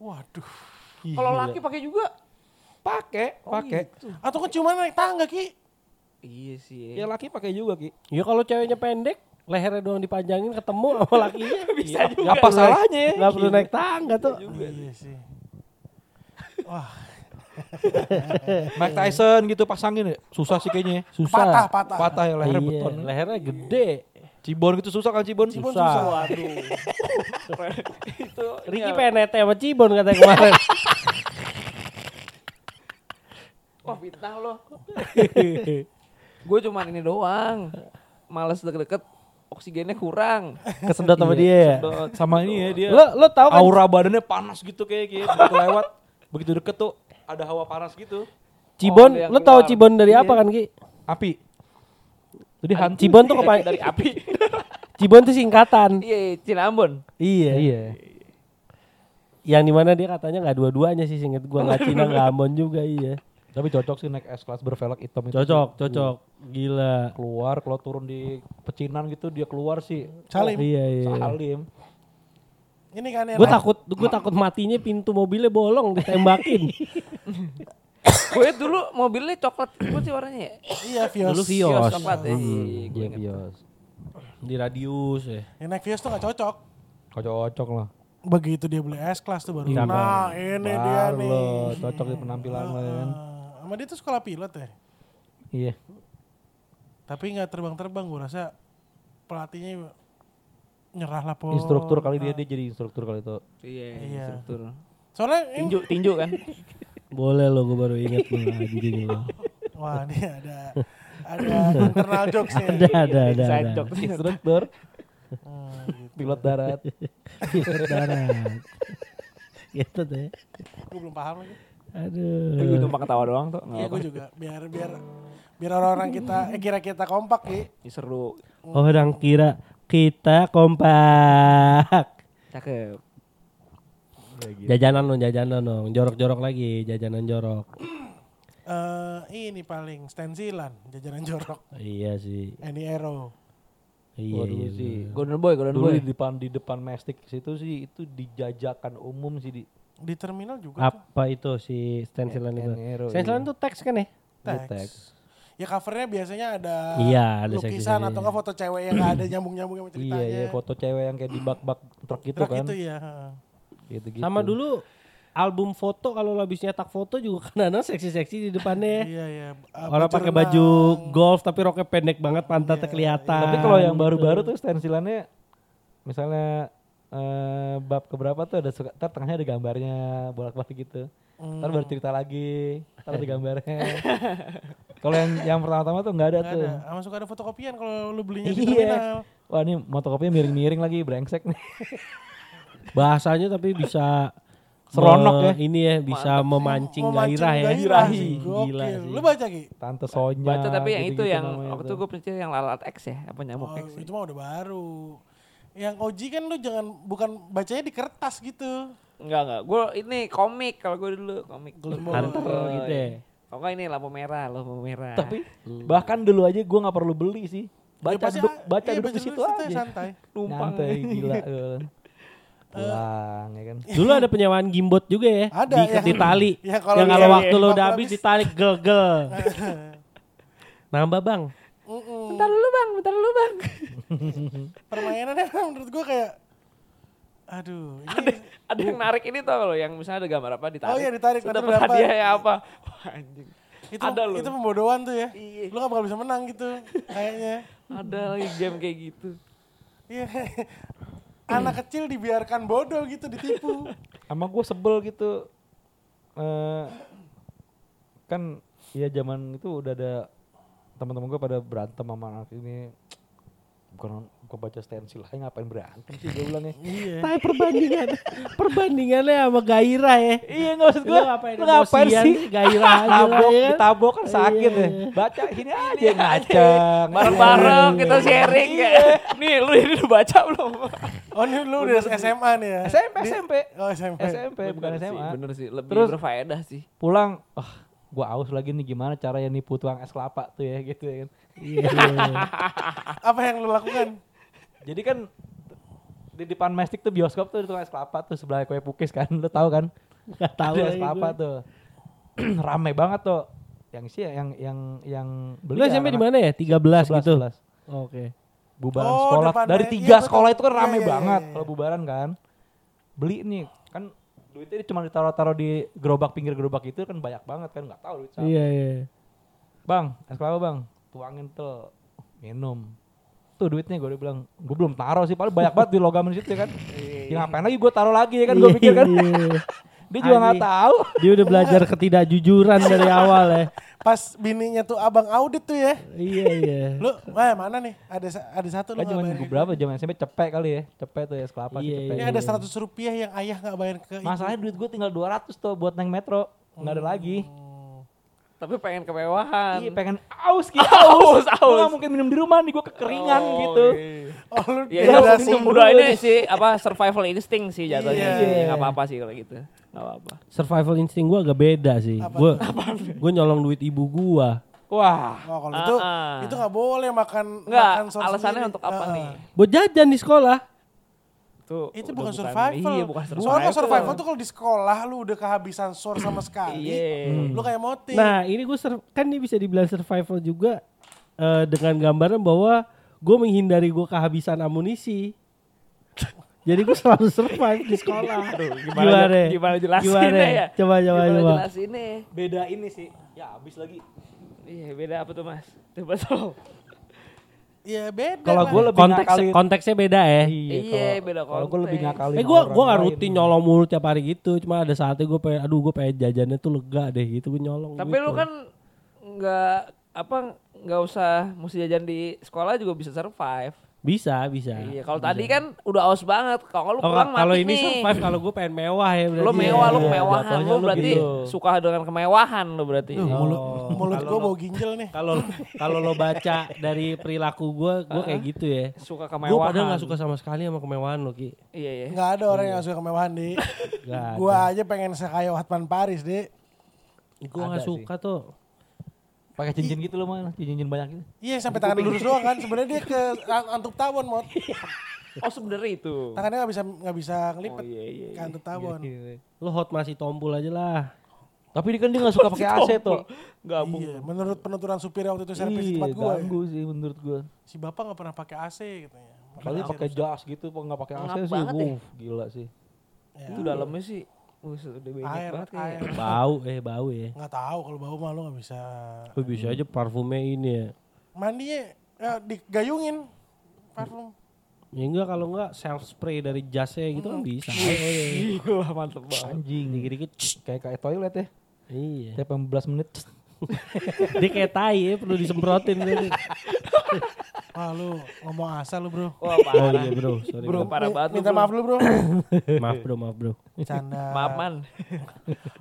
Waduh.
Kalau laki pakai juga.
Pakai,
Oh,
pakai.
gitu.
Atau kan cuma naik tangga Ki.
Iya sih.
Ya laki pakai juga Ki.
Ya kalau ceweknya pendek, lehernya doang dipanjangin ketemu sama lakinya. Iya. Bisa
Enggak apa salahnya. ya.
Gak perlu naik tangga tuh.
Iya sih.
Mike Tyson gitu pasangin ya. Susah sih kayaknya.
Patah,
Susah.
patah.
Patah ya lehernya
Iya,
beton.
lehernya gede.
Cibon gitu susah kan Cibon?
Cibon
susah.
susah. Waduh.
itu
Ricky
iya.
pengen nete sama Cibon katanya kemarin.
Wah Oh, fitnah lo. Gue cuman ini doang. Males deket-deket oksigennya kurang.
Kesedot sama dia ya.
Sedot.
Sama ini ya dia.
Lo lo tau kan
aura badannya panas gitu kayak gitu. Begitu lewat, begitu deket tuh ada hawa panas gitu.
Cibon,
Oh, ada yang
lo tau
keluar.
Cibon dari apa kan Ki?
Api. Jadi hantu. Iya,
Cibon tuh kepa-
dari api.
Cibon tuh singkatan.
Iya, iya, Cinambon.
Iya. Iya. Yang dimana dia katanya nggak dua-duanya sih singkat gua nggak Cina nggak Ambon juga iya.
Tapi cocok sih naik S kelas bervelg hitam itu.
Cocok, cocok, gila.
Keluar kalau turun di pecinan gitu dia keluar sih.
Salim.
Iya iya.
Salim.
Ini kan yang
Gue takut, gue takut matinya pintu mobilnya bolong ditembakin.
Gue liat dulu mobilnya coklat ikut sih warnanya ya.
Iya Vios.
Dulu Vios.
Kios coklat ya.
Hmm,
Gue
Iya
ingat.
bios. Di radius
eh.
ya.
Yang naik Vios tuh nggak cocok.
Cocok lah.
Begitu dia beli S kelas tuh baru.
Iya,
Nah ini dia
Baru
nih.
lo cocok di penampilan lo ya kan.
Ah, Sama dia tuh sekolah pilot ya.
Iya.
Tapi nggak terbang-terbang gue rasa pelatihnya nyerah lah po.
Instruktur kali dia dia jadi instruktur kali itu.
Iya,
Iya.
instruktur.
Soalnya ini
Tinju, tinju kan.
Boleh lo, gue baru ingat lo lagi gini lo.
Wah ini ada ada internal jokes ya.
Ada, ada, ada.
Inside
ada.
joke.
Instruktur pilot darat.
Darah. Gitu deh.
Gue belum paham lagi.
Gue
Aduh.
cuma ketawa doang tuh. nggak
Iya
apa.
gue juga. Biar biar biar orang-orang kita eh, kira kita kompak nih.
Ini seru.
Orang kira kita kompak.
Cakep.
Jajanan dong, jajanan dong. Jorok-jorok lagi, jajanan jorok.
Eh, ini paling stensilan jajanan jorok.
Iya sih.
Any arrow.
Iya,
Waduh
iya.
sih.
Golden boy, golden
Dulu eh.
boy.
di depan di depan mestik situ sih itu dijajakan umum sih di
Di terminal juga tuh.
Apa itu si stensilan itu? iya.
Enero,
iya.
Stensilan itu teks kan ya?
gitu.
Teks. Ya covernya biasanya ada
Iya, ada
lukisan
seksi-seksinya.
atau enggak foto cewek yang nggak ada nyambung-nyambung sama ceritanya.
Iya, iya foto cewek yang kayak di bak-bak truk gitu
Truk
kan.
itu ya. ha.
Gitu, gitu.
Sama dulu album foto kalau lo habis nyetak foto juga kan ada seksi-seksi di
Iya,
depannya.
iya. Ah,
Eh, Orang pakai baju
renang.
golf tapi roknya pendek banget, pantatnya kelihatan.
Iya. Tapi kalau yang baru-baru tuh stensilannya misalnya eh, bab keberapa tuh ada suka, ntar tengahnya ada gambarnya bolak-balik gitu. Ntar baru
Hmm.
cerita lagi, ntar ada gambarnya. kalau yang yang pertama-tama tuh nggak ada
Nggak
tuh.
ada. Sama suka ada fotokopian kalau lu belinya di terminal.
Iya. Wah ini motokopinya miring-miring lagi, brengsek nih.
bahasanya tapi bisa
Seronok
me-
ya.
ini ya bisa memancing
Mau mancing
gairah ya.
gairah sih.
Gila
Gokil.
sih.
Lu baca Ki?
Tante Sonya.
Baca tapi yang itu
gitu-gitu
yang
namanya
waktu itu gue percaya yang lalat X ya, apa nyamuk
Oh,
X. ya?
itu mah udah baru. Yang OG kan lu jangan bukan bacanya di kertas gitu.
Enggak, enggak. Gue ini komik kalau gue dulu komik.
Golden boy.
Hunter gitu
iya.
ya.
Oh enggak ini lampu merah, lampu merah.
Tapi bahkan dulu aja gue nggak perlu beli sih. Baca
pasti-
duduk, baca
iya,
duduk
baca
di situ
duduk
aja.
Santai.
numpang.
Nyantai gila. Pulang ya kan.
Dulu ada penyewaan gimbot juga ya.
Ada,
Diikat
yang-
di tali.
ya
yang
kalau
kalau
iya, iya,
waktu lo
kalau
udah
habis.
habis ditarik gel-gel. Nambah bang.
Mm-mm.
Bentar dulu bang, bentar dulu bang.
Permainannya menurut gua kayak aduh ini
ada yang narik ini tau loh, yang misalnya ada gambar apa ditarik.
Oh iya, ditarik,
Sudah
nanti
dapat
dapat.
hadiah ya apa. Wah, anjing.
itu
ada loh.
itu pembodohan tuh ya.
Iya.
Lu gak bakal bisa menang gitu kayaknya.
Ada lagi game kayak gitu.
Iya. Anak kecil dibiarkan bodoh gitu ditipu.
Sama gue sebel gitu. Eh kan ya zaman itu udah ada teman-teman gue pada berantem sama anak ini bukan gue baca stensil aja ngapain berantem sih gue bilang ya
Iya.
Tapi perbandingan perbandingannya sama gairah ya.
iya nggak maksud
Lu
gue
ngapain
lu ngapain
emosian
sih
sih, gairah aja lah,
tabok
ya kan?
ditabok kan sakit
Iya,
ya baca gini aja ngaceng
Bareng-bareng kita sharing kayak. Nih lu ini udah baca belum?
Oh ini lu udah SMA nih ya?
SMP
Di-
SMP
Oh SMP.
SMP bukan
Bener sih,
SMA
Bener sih, lebih
Terus-
berfaedah sih.
pulang wah gua aus lagi nih gimana caranya nipu tukang es kelapa tuh ya gitu ya kan
Apa yang lu lakukan?
jadi kan di depan mestik tuh bioskop tuh ada tukang es kelapa tuh sebelah kue pukis kan lu tahu kan
Gak tahu.
ada es
lagi
kelapa
gua.
tuh rame banget tuh yang sih yang yang yang
Lu SMP di mana ya? 13 gitu. Oke.
bubaran
Oh,
sekolah
depan
dari
me-
tiga
iya, betul.
sekolah itu kan
Iya,
rame
iya,
banget
iya, iya.
kalau bubaran kan beli nih kan duitnya cuma ditaruh-taruh di gerobak pinggir gerobak itu kan banyak banget kan nggak tahu duit siapa.
Iya iya.
Bang, es kelapa bang, tuangin tuh minum. Tuh duitnya gue udah bilang, gue belum taruh sih, paling banyak banget di logamen situ ya kan. ya ngapain lagi gue taruh lagi ya kan, gue pikir kan.
Iya.
Dia juga nggak
Anjing.
tahu.
Dia udah belajar ketidakjujuran dari awal ya.
Pas bininya tuh abang audit tuh ya.
Iya iya.
Lu wah mana nih? Ada sa- ada satu lu
Kan
nggak
zaman
bayar.
gua berapa zaman SMP cepet kali ya, cepet tuh es kelapa sih
Iya,
cepet.
Ini ada 100 rupiah yang ayah nggak bayar ke ibu.
Masalahnya duit gue tinggal 200 tuh buat naik metro, nggak ada lagi.
Tapi pengen kemewahan.
Iya pengen aus gitu, aus,
Aus,
aus.
aus.
Gue nggak mungkin minum di rumah nih, gue kekeringan
Oh,
gitu.
iya.
Oh lu dia
Ya, itu
udah
waktu
sih.
muda ini sih apa survival instinct sih jatuhnya
Iya.
sih. Enggak apa-apa sih kalau gitu. Enggak apa-apa.
Survival insting gua agak beda sih. Gue gue nyolong duit ibu gua.
Wah,
Oh, kalau itu
Ah, ah.
itu nggak boleh makan
Enggak,
makan sos
alasannya
sendiri.
untuk apa
Ah, ah.
nih?
Buat jajan di sekolah.
Tuh,
Itu
udah
bukan survival.
Iya, bukan survival.
Soalnya survival tuh kalau di sekolah lu udah kehabisan sor sama sekali.
Iya.
Lu kayak moti.
Nah ini gue kan ini bisa dibilang survival juga eh, dengan gambaran bahwa gue menghindari gue kehabisan amunisi. Jadi gue selalu survive di sekolah.
gimana- gimana jelasinnya ya?
Coba coba
Gimana
coba.
jelas ini?
beda ini sih. Ya habis lagi.
Iya, beda apa tuh, Mas? Coba tolong.
Ya beda.
Kalau
lah.
gue lebih
Konteks
ngakalin.
konteksnya beda ya.
Iya,
kalau-
beda
Kalau gue lebih
konteks.
ngakalin.
Eh gue
orang
gue gak
lain.
rutin nyolong mulu tiap hari gitu. Cuma ada saatnya gue pengen, aduh gue pengen jajannya tuh lega deh gitu gue nyolong.
Tapi
duit
lu
tuh.
kan enggak apa enggak usah mesti jajan di sekolah juga bisa survive.
Bisa, Ya, bisa.
Iya, kalau tadi kan udah aus banget. Kalau lu
Oh,
kurang
kalau
mati
ini
nih.
survive kalau gue pengen mewah ya berarti.
Lu mewah, lu
Iya,
kemewahan.
jatuhnya
Lu berarti
gitu. Iya.
suka dengan kemewahan lu berarti.
Duh, mulut, mulut
Kalau
gue
lo-
bau ginjal nih.
kalau kalau lo baca dari perilaku gue, gue kayak gitu ya.
Suka
Gue
kemewahan.
padahal gak suka sama sekali sama kemewahan lo Ki.
Iya, iya.
Nggak ada orang yang gak suka kemewahan, Di.
Gak
Gue aja pengen sekaya Hotman Paris, Di.
Gue
Ada
gak
sih.
suka tuh.
Pakai cincin gitu loh mah, cincin banyak gitu.
Iya, sampai tangan lurus doang kan. Sebenarnya dia ke an- antuk tawon, Mot.
Oh, sebenarnya itu.
Tangannya nggak bisa nggak bisa ngelipet
iya, iya,
ke antuk tawon.
Lo hot masih tombol aja lah.
Tapi dia kan dia gak suka pakai AC tuh.
Gabung.
Iya, menurut penuturan supir waktu itu servis di
Iya,
tempat gue.
ganggu sih menurut gue.
Si bapak nggak pernah pakai gitu AC katanya.
Kalau pakai jas gitu, kok nggak pakai AC
Ngap
sih,
banget ya.
wuh, gila sih.
Iya.
Itu dalamnya sih. Buset, udah banyak
air,
banget ya. iya. kayaknya.
air.
Bau, eh bau ya.
Nggak tahu kalau bau mah lo nggak bisa.
Lo bisa aja parfumnya ini ya.
Mandinya eh, digayungin parfum.
Ya enggak kalau enggak self spray dari jasnya gitu kan bisa.
Iya, Gila, mantep banget.
Anjing dikit-dikit. css.
Kayak kayak toilet ya.
Iya.
Tiap 15 menit. css.
Dia kayak tai ya, perlu disemprotin tadi.
Wah lu ngomong asal lu bro.
Wah,
Oh
parah.
iya bro, sorry.
Bro,
bro.
parah
Mi-
banget. lu,
Minta
bro.
maaf lu bro.
Maaf bro, maaf bro.
Canda.
Maaf, man.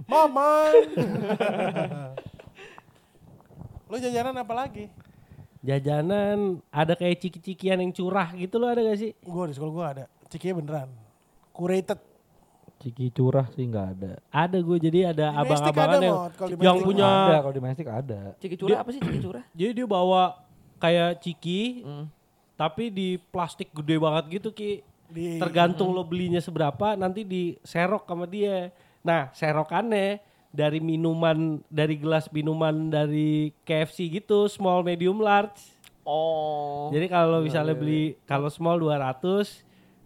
Maman. lu jajanan apa lagi?
Jajanan ada kayak ciki-cikian yang curah gitu lo ada gak sih?
Gue di sekolah gue ada. Cikinya beneran. Curated.
Ciki curah sih nggak ada.
Ada gue jadi ada
Di Mestik
abang-abangan
ada,
yang,
Mot, kalau di
yang
Mestik.
punya
Ada kalau di domestik ada.
Ciki curah apa sih ciki curah?
jadi dia bawa kayak ciki
Hmm.
tapi di plastik gede banget gitu ki
Di Hmm.
tergantung lo belinya seberapa nanti diserok sama dia nah serokannya dari minuman dari gelas minuman dari KFC gitu small medium large
Oh. iya.
jadi kalau misalnya beli kalau small 200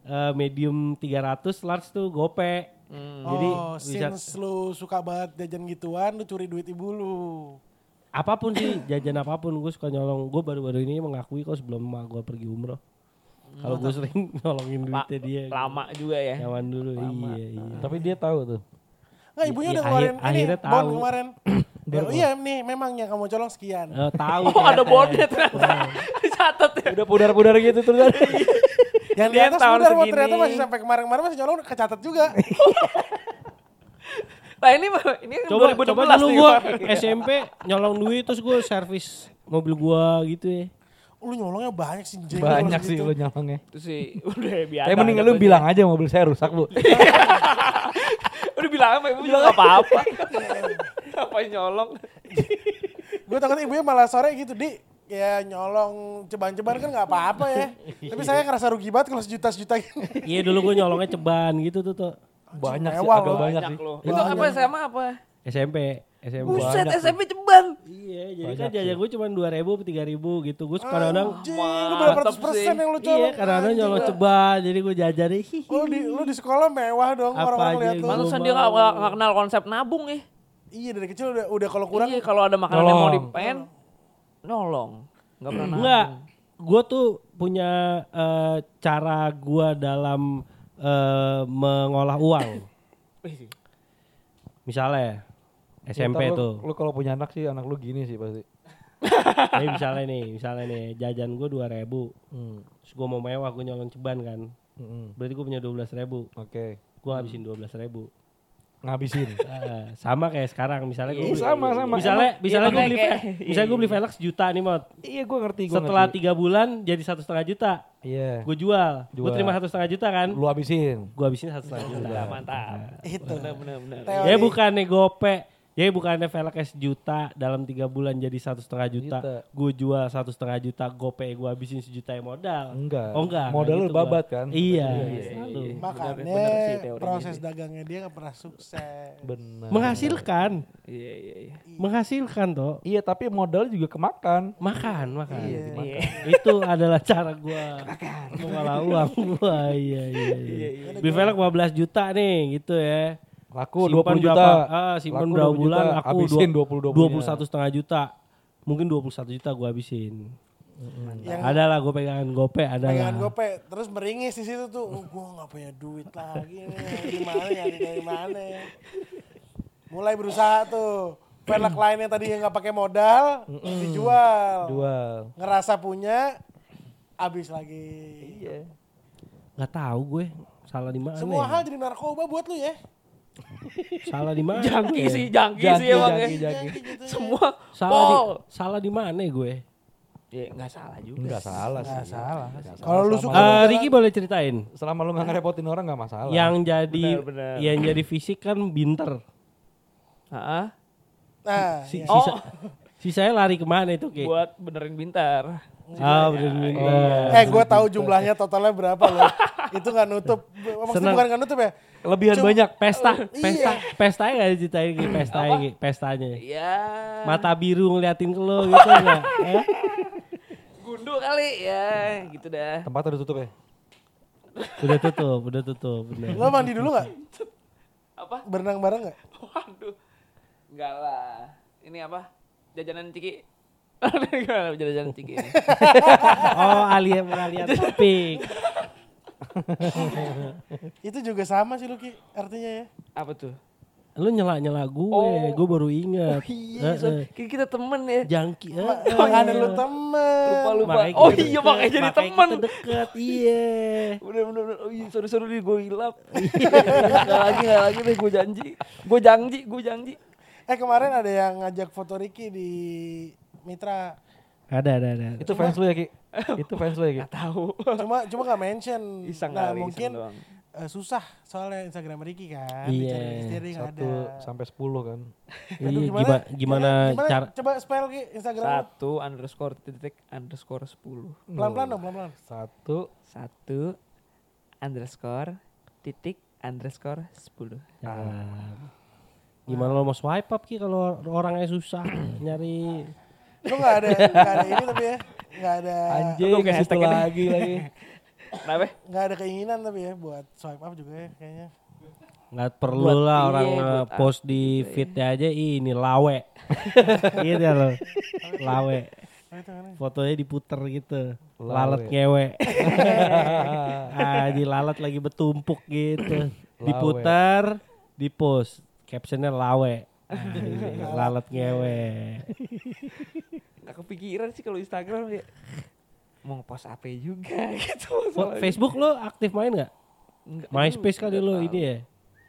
eh, medium 300 large tuh gope
Hmm.
jadi
oh,
bisa
since lu suka banget jajan gituan, lu curi duit ibu lu.
apapun sih jajan apapun gue suka nyolong gue baru-baru ini mengakui kok sebelum emak gue pergi umroh kalau gue sering nyolongin
La-
duitnya dia
lama juga ya.
Zaman dulu iya iya.
Tapi dia tahu tuh.
Nggak, ibunya
Ya,
udah
ya,
ngeluarin
akhir- akhirnya
ini, bon
tahu.
kemarin. oh, iya nih, memangnya kamu colong sekian.
Eh, tahu.
Oh ada
ternyata.
bonnya
Iya.
ternyata. Dicatat ya.
Udah pudar-pudar gitu terus. kan.
Yang di
Dia
atas
tahun
udah Mot,
segini.
ternyata masih sampai kemarin-kemarin masih nyolong kecatat juga.
Nah ini ini kan
Coba
2016
coba dulu
nih,
gue
Pak.
SMP nyolong duit terus gue servis mobil gue gitu ya.
Oh, lu nyolongnya banyak sih Jeng, Gitu. kalau
Banyak sih
segitu.
lo nyolongnya.
Itu sih udah biasa.
Kayak mending lu
jatuhnya.
bilang aja mobil saya rusak, Bu.
Udah bilang sama ibu juga nggak apa-apa. Ngapain nyolong?
Gue takut ibunya malah sore gitu, Di. Ya nyolong ceban-ceban kan nggak apa-apa ya. Tapi saya ngerasa rugi banget kalau sejuta-sejuta gini.
Iya dulu gue nyolongnya ceban gitu tuh tuh.
Banyak sih,
Mewah
agak
lo.
banyak sih.
loh. Itu apa SMA apa?
SMP SMP.
Buset SMP ceban.
Iya jadi kan jajan gue cuma dua ribu tiga ribu gitu gue suka
Ah,
kadang
Anjing, lu berapa
mantap
ratus persen
sih.
yang lu colong?
Iya kadang-kadang nyolong ceban jadi gue jajan deh.
Oh,
hihi.
Lu di, lu di sekolah mewah dong
Apa
orang-orang
aja
lihat
yang
lu.
gua-
Pantesan dia nggak- nggak nggak kenal konsep nabung ya.
Iya dari kecil udah, udah kalau kurang
Iya kalau ada makanan yang mau
Nolong.
dipen, nolong. Nggak pernah nabung.
Enggak, gue tuh punya eh, cara gue dalam eh, mengolah uang. Misalnya SMP
Ntar lu-
tuh,
Lu kalau punya anak sih anak lu gini sih pasti.
Jadi misalnya nih, misalnya nih jajan gue dua ribu, terus gue mau mewah gue nyolong ceban kan,
Mm-mm.
berarti gue punya dua belas ribu,
Hmm, Oke.
gue habisin dua belas ribu.
Ngabisin.
Eh, sama kayak sekarang misalnya gue
Iya, sama, sama.
misalnya
Emang-
misalnya
iya,
gue beli
makanya kayak-
misalnya gue beli velg sejuta nih mot
Iya, gue ngerti, gue
setelah
ngerti.
tiga bulan jadi satu setengah juta
Iya.
gue jual gue
Jual.
terima satu setengah juta kan
Lu habisin.
gue habisin satu setengah juta.
Mantap.
itu.
Benar benar.
Teori.
Ya bukannya gope, ya bukannya velgnya sejuta dalam tiga bulan jadi satu setengah juta.
Juta.
Gue jual satu setengah juta gope, gue habisin sejuta yang modal.
Enggak.
Oh enggak.
Modal
enggak
lu babat
gua.
kan?
Iya.
iya,
selalu.
iya.
Makanya
Bener- bener sih teorinya
proses
sih.
dagangnya dia nggak pernah sukses.
Benar.
Menghasilkan,
Iya iya iya.
menghasilkan toh.
Iya, tapi modal juga kemakan.
Makan, makan.
Iya.
Itu adalah cara gue mengolah uang gue. Iya, iya, iya. Beli velg 15 juta nih gitu ya.
Laku
Simpen
20 juta.
berapa- ah, simpen
Laku
berapa
20
bulan
juta,
aku
habisin
dua-
20
21 setengah juta. Mungkin 21 juta gue habisin.
Yang
Ada lah gue pegangan gope ada
pegangan
lah.
gope terus meringis di situ tuh oh, gue nggak punya duit lagi nih gimana nyari dari mana mulai berusaha tuh velg lainnya tadi yang nggak pakai modal dijual
Jual.
ngerasa punya Abis lagi.
Iya.
Nggak tahu gue salah di mana.
Semua
ya.
hal jadi narkoba buat lu ya.
salah di mana?
Jangki
ya?
sih, Iya. jangki sih
Jangki,
emang
jangki,
ya.
jangki.
Gitu.
Semua
Salah di,
pol.
salah di mana ya gue?
Ya nggak salah juga.
Enggak
sih.
salah sih.
Nggak salah. Kalau lu suka
Eh Riki boleh ceritain.
Selama lu gak ngerepotin orang gak masalah.
Yang jadi
Benar, benar.
yang jadi fisik kan binter.
Heeh.
Nah,
Si,
iya.
Oh.
sisa- sisanya lari kemana itu Ki?
Buat Oh, iya. benerin bintar.
Ah bener binter.
Eh, gue tahu jumlahnya totalnya berapa loh. itu nggak nutup. Maksudnya
Senang.
bukan nggak nutup ya.
Lebihan
Cuma-
banyak.
Pesta,
Iya.
pesta, pestanya nggak diceritain Ki, pestanya Ki, pestanya.
Iya.
Mata biru ngeliatin ke lo gitu enggak? Eh?
Gundul kali ya, gitu dah.
Tempat udah tutup ya?
Udah tutup, udah tutup, bener.
Lo mandi dulu nggak?
Apa?
Berenang bareng nggak?
Waduh. Enggak lah. Ini apa? Jajanan ciki. Gimana jajanan ciki ini?
Oh, alien alien topik.
Itu juga sama sih Luki, artinya ya.
Apa tuh?
Lu nyela-nyela gue,
Oh.
gue baru ingat.
Iya, so,
Eh, eh.
kayak kita temen ya.
Jangki. eh, eh.
Makanya lu temen.
Lupa lupa.
Makanya
Oh
kita
iya
deket,
makanya jadi temen.
Kita deket, iya.
Udah bener bener. Oh iya sorry sorry gue hilap. Gak lagi gak lagi deh gue janji. Gue janji gue janji.
Eh kemarin ada yang ngajak foto Riki di Mitra.
Ada, ada, ada.
Itu fans lu ya Ki? Itu fans lu ya Ki?
Gak tahu.
Cuma cuma nggak mention.
Iseng
nah
kali,
mungkin
iseng doang.
eh, susah soalnya Instagram Riki kan.
Iya.
Dicari di steering
Satu
ada.
sampai sepuluh kan.
Aduh,
Iya, gimana, gimana, cara
Coba spell Ki Instagram. lu.
Satu underscore titik underscore sepuluh.
Pelan-pelan dong, pelan-pelan.
Satu.
Satu underscore titik underscore sepuluh.
Nah, gimana lo mau swipe up ki kalau orangnya susah nyari
Lu nggak ada nggak ada ini tapi ya. nggak ada
Anjing,
Aduh, kayak
itu
hashtag ini.
lagi lagi.
Kenapa?
nggak ada keinginan tapi ya buat swipe up juga ya kayaknya.
nggak perlu
Buat-
lah
iya,
orang
buat gitu, iya.
nge- post di feednya aja "Ih, ini lawe gitu ya lo lawe
Oh,
fotonya diputer gitu lalat ngewe ah di lalat lagi bertumpuk gitu diputar di post captionnya lawe Ah, ini lalat ngewe
Gak kepikiran sih kalau Instagram ya. Mau ngepost apa juga gitu.
Fo- Facebook lo aktif main nggak
Enggak,
MySpace kali
enggak
lo
tahu.
ini ya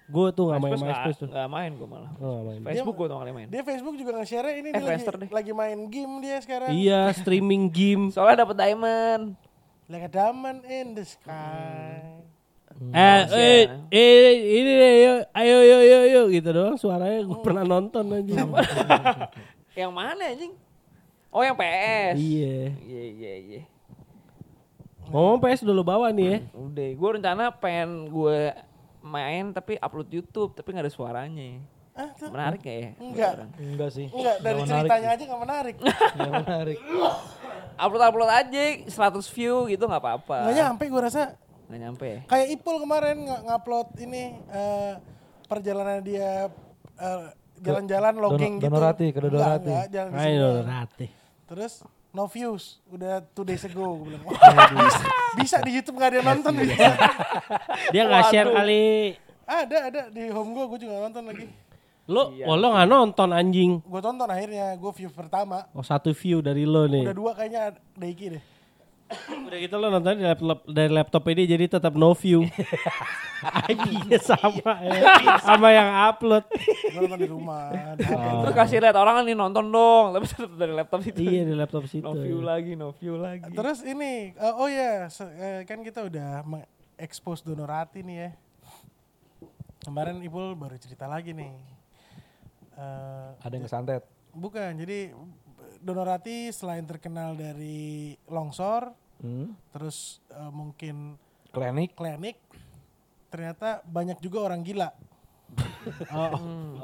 gue tuh nggak main
MySpace nggak-
MySpace tuh Oh.
nggak main gue malah.
Lo nggak main.
Facebook gue tuh nggak main.
Dia Facebook juga nge-share ya, ini
Eh,
dia lagi,
Friendster deh.
lagi main game dia sekarang.
Iya, streaming game.
Soalnya dapet diamond.
Like a diamond in the sky.
Eh, eh,
ya.
eh, ini deh, yuk, ayo, yo, yo, yo, gitu doang suaranya. Gue
Oh.
pernah nonton aja.
Yang mana anjing? Oh yang PS.
iya.
Iya iya iya.
Ngomong PS dulu bawa nih ya.
Udah, gue rencana pengen gue main tapi upload YouTube tapi nggak ada suaranya.
Ah, tuh.
Menarik gak ya?
Enggak.
Enggak sih.
Enggak, dari
Hmm. Nggak menarik
ceritanya aja gak menarik.
sih. Nggak menarik.
Upload upload aja 100 view gitu nggak apa-apa.
Nggak nyampe gue rasa.
Nggak nyampe. ya?
Kayak Ipul kemarin nge- ngupload ini eh, perjalanan dia eh, jalan-jalan logging gitu.
Donorati, ke
Enggak,
Donorati.
enggak, jalan di sini.
Ayo, Rati.
Terus no views, udah two days ago. Gue bilang, wah, bisa, bisa di Youtube gak ada yang nonton. Bisa.
Dia nggak share kali.
ada, ada di home gue, gue juga nonton lagi.
Lo,
Iya.
oh, lo nggak nonton anjing.
Gue tonton akhirnya, gue view pertama.
Oh, satu view dari lo nih.
Udah dua kayaknya ada- Daiki deh.
Udah gitu lo nonton di laptop dari laptop ini jadi tetap no view. IP-nya sama ya.
Iya.
sama yang upload.
Gue nonton di rumah. di HP.
Terus kasih lihat orang kan, nih nonton dong, tapi dari laptop itu.
iya di laptop situ.
No view lagi, no view lagi.
Terus ini, eh, oh ya, se- eh, kan kita udah mengekspos Donorati nih ya. Kemarin Ipul baru cerita lagi nih. Eh,
Ada yang kesantet.
bukan, jadi Donorati selain terkenal dari longsor,
Hmm.
terus eh, mungkin
Klinik.
klinik, ternyata banyak juga orang gila.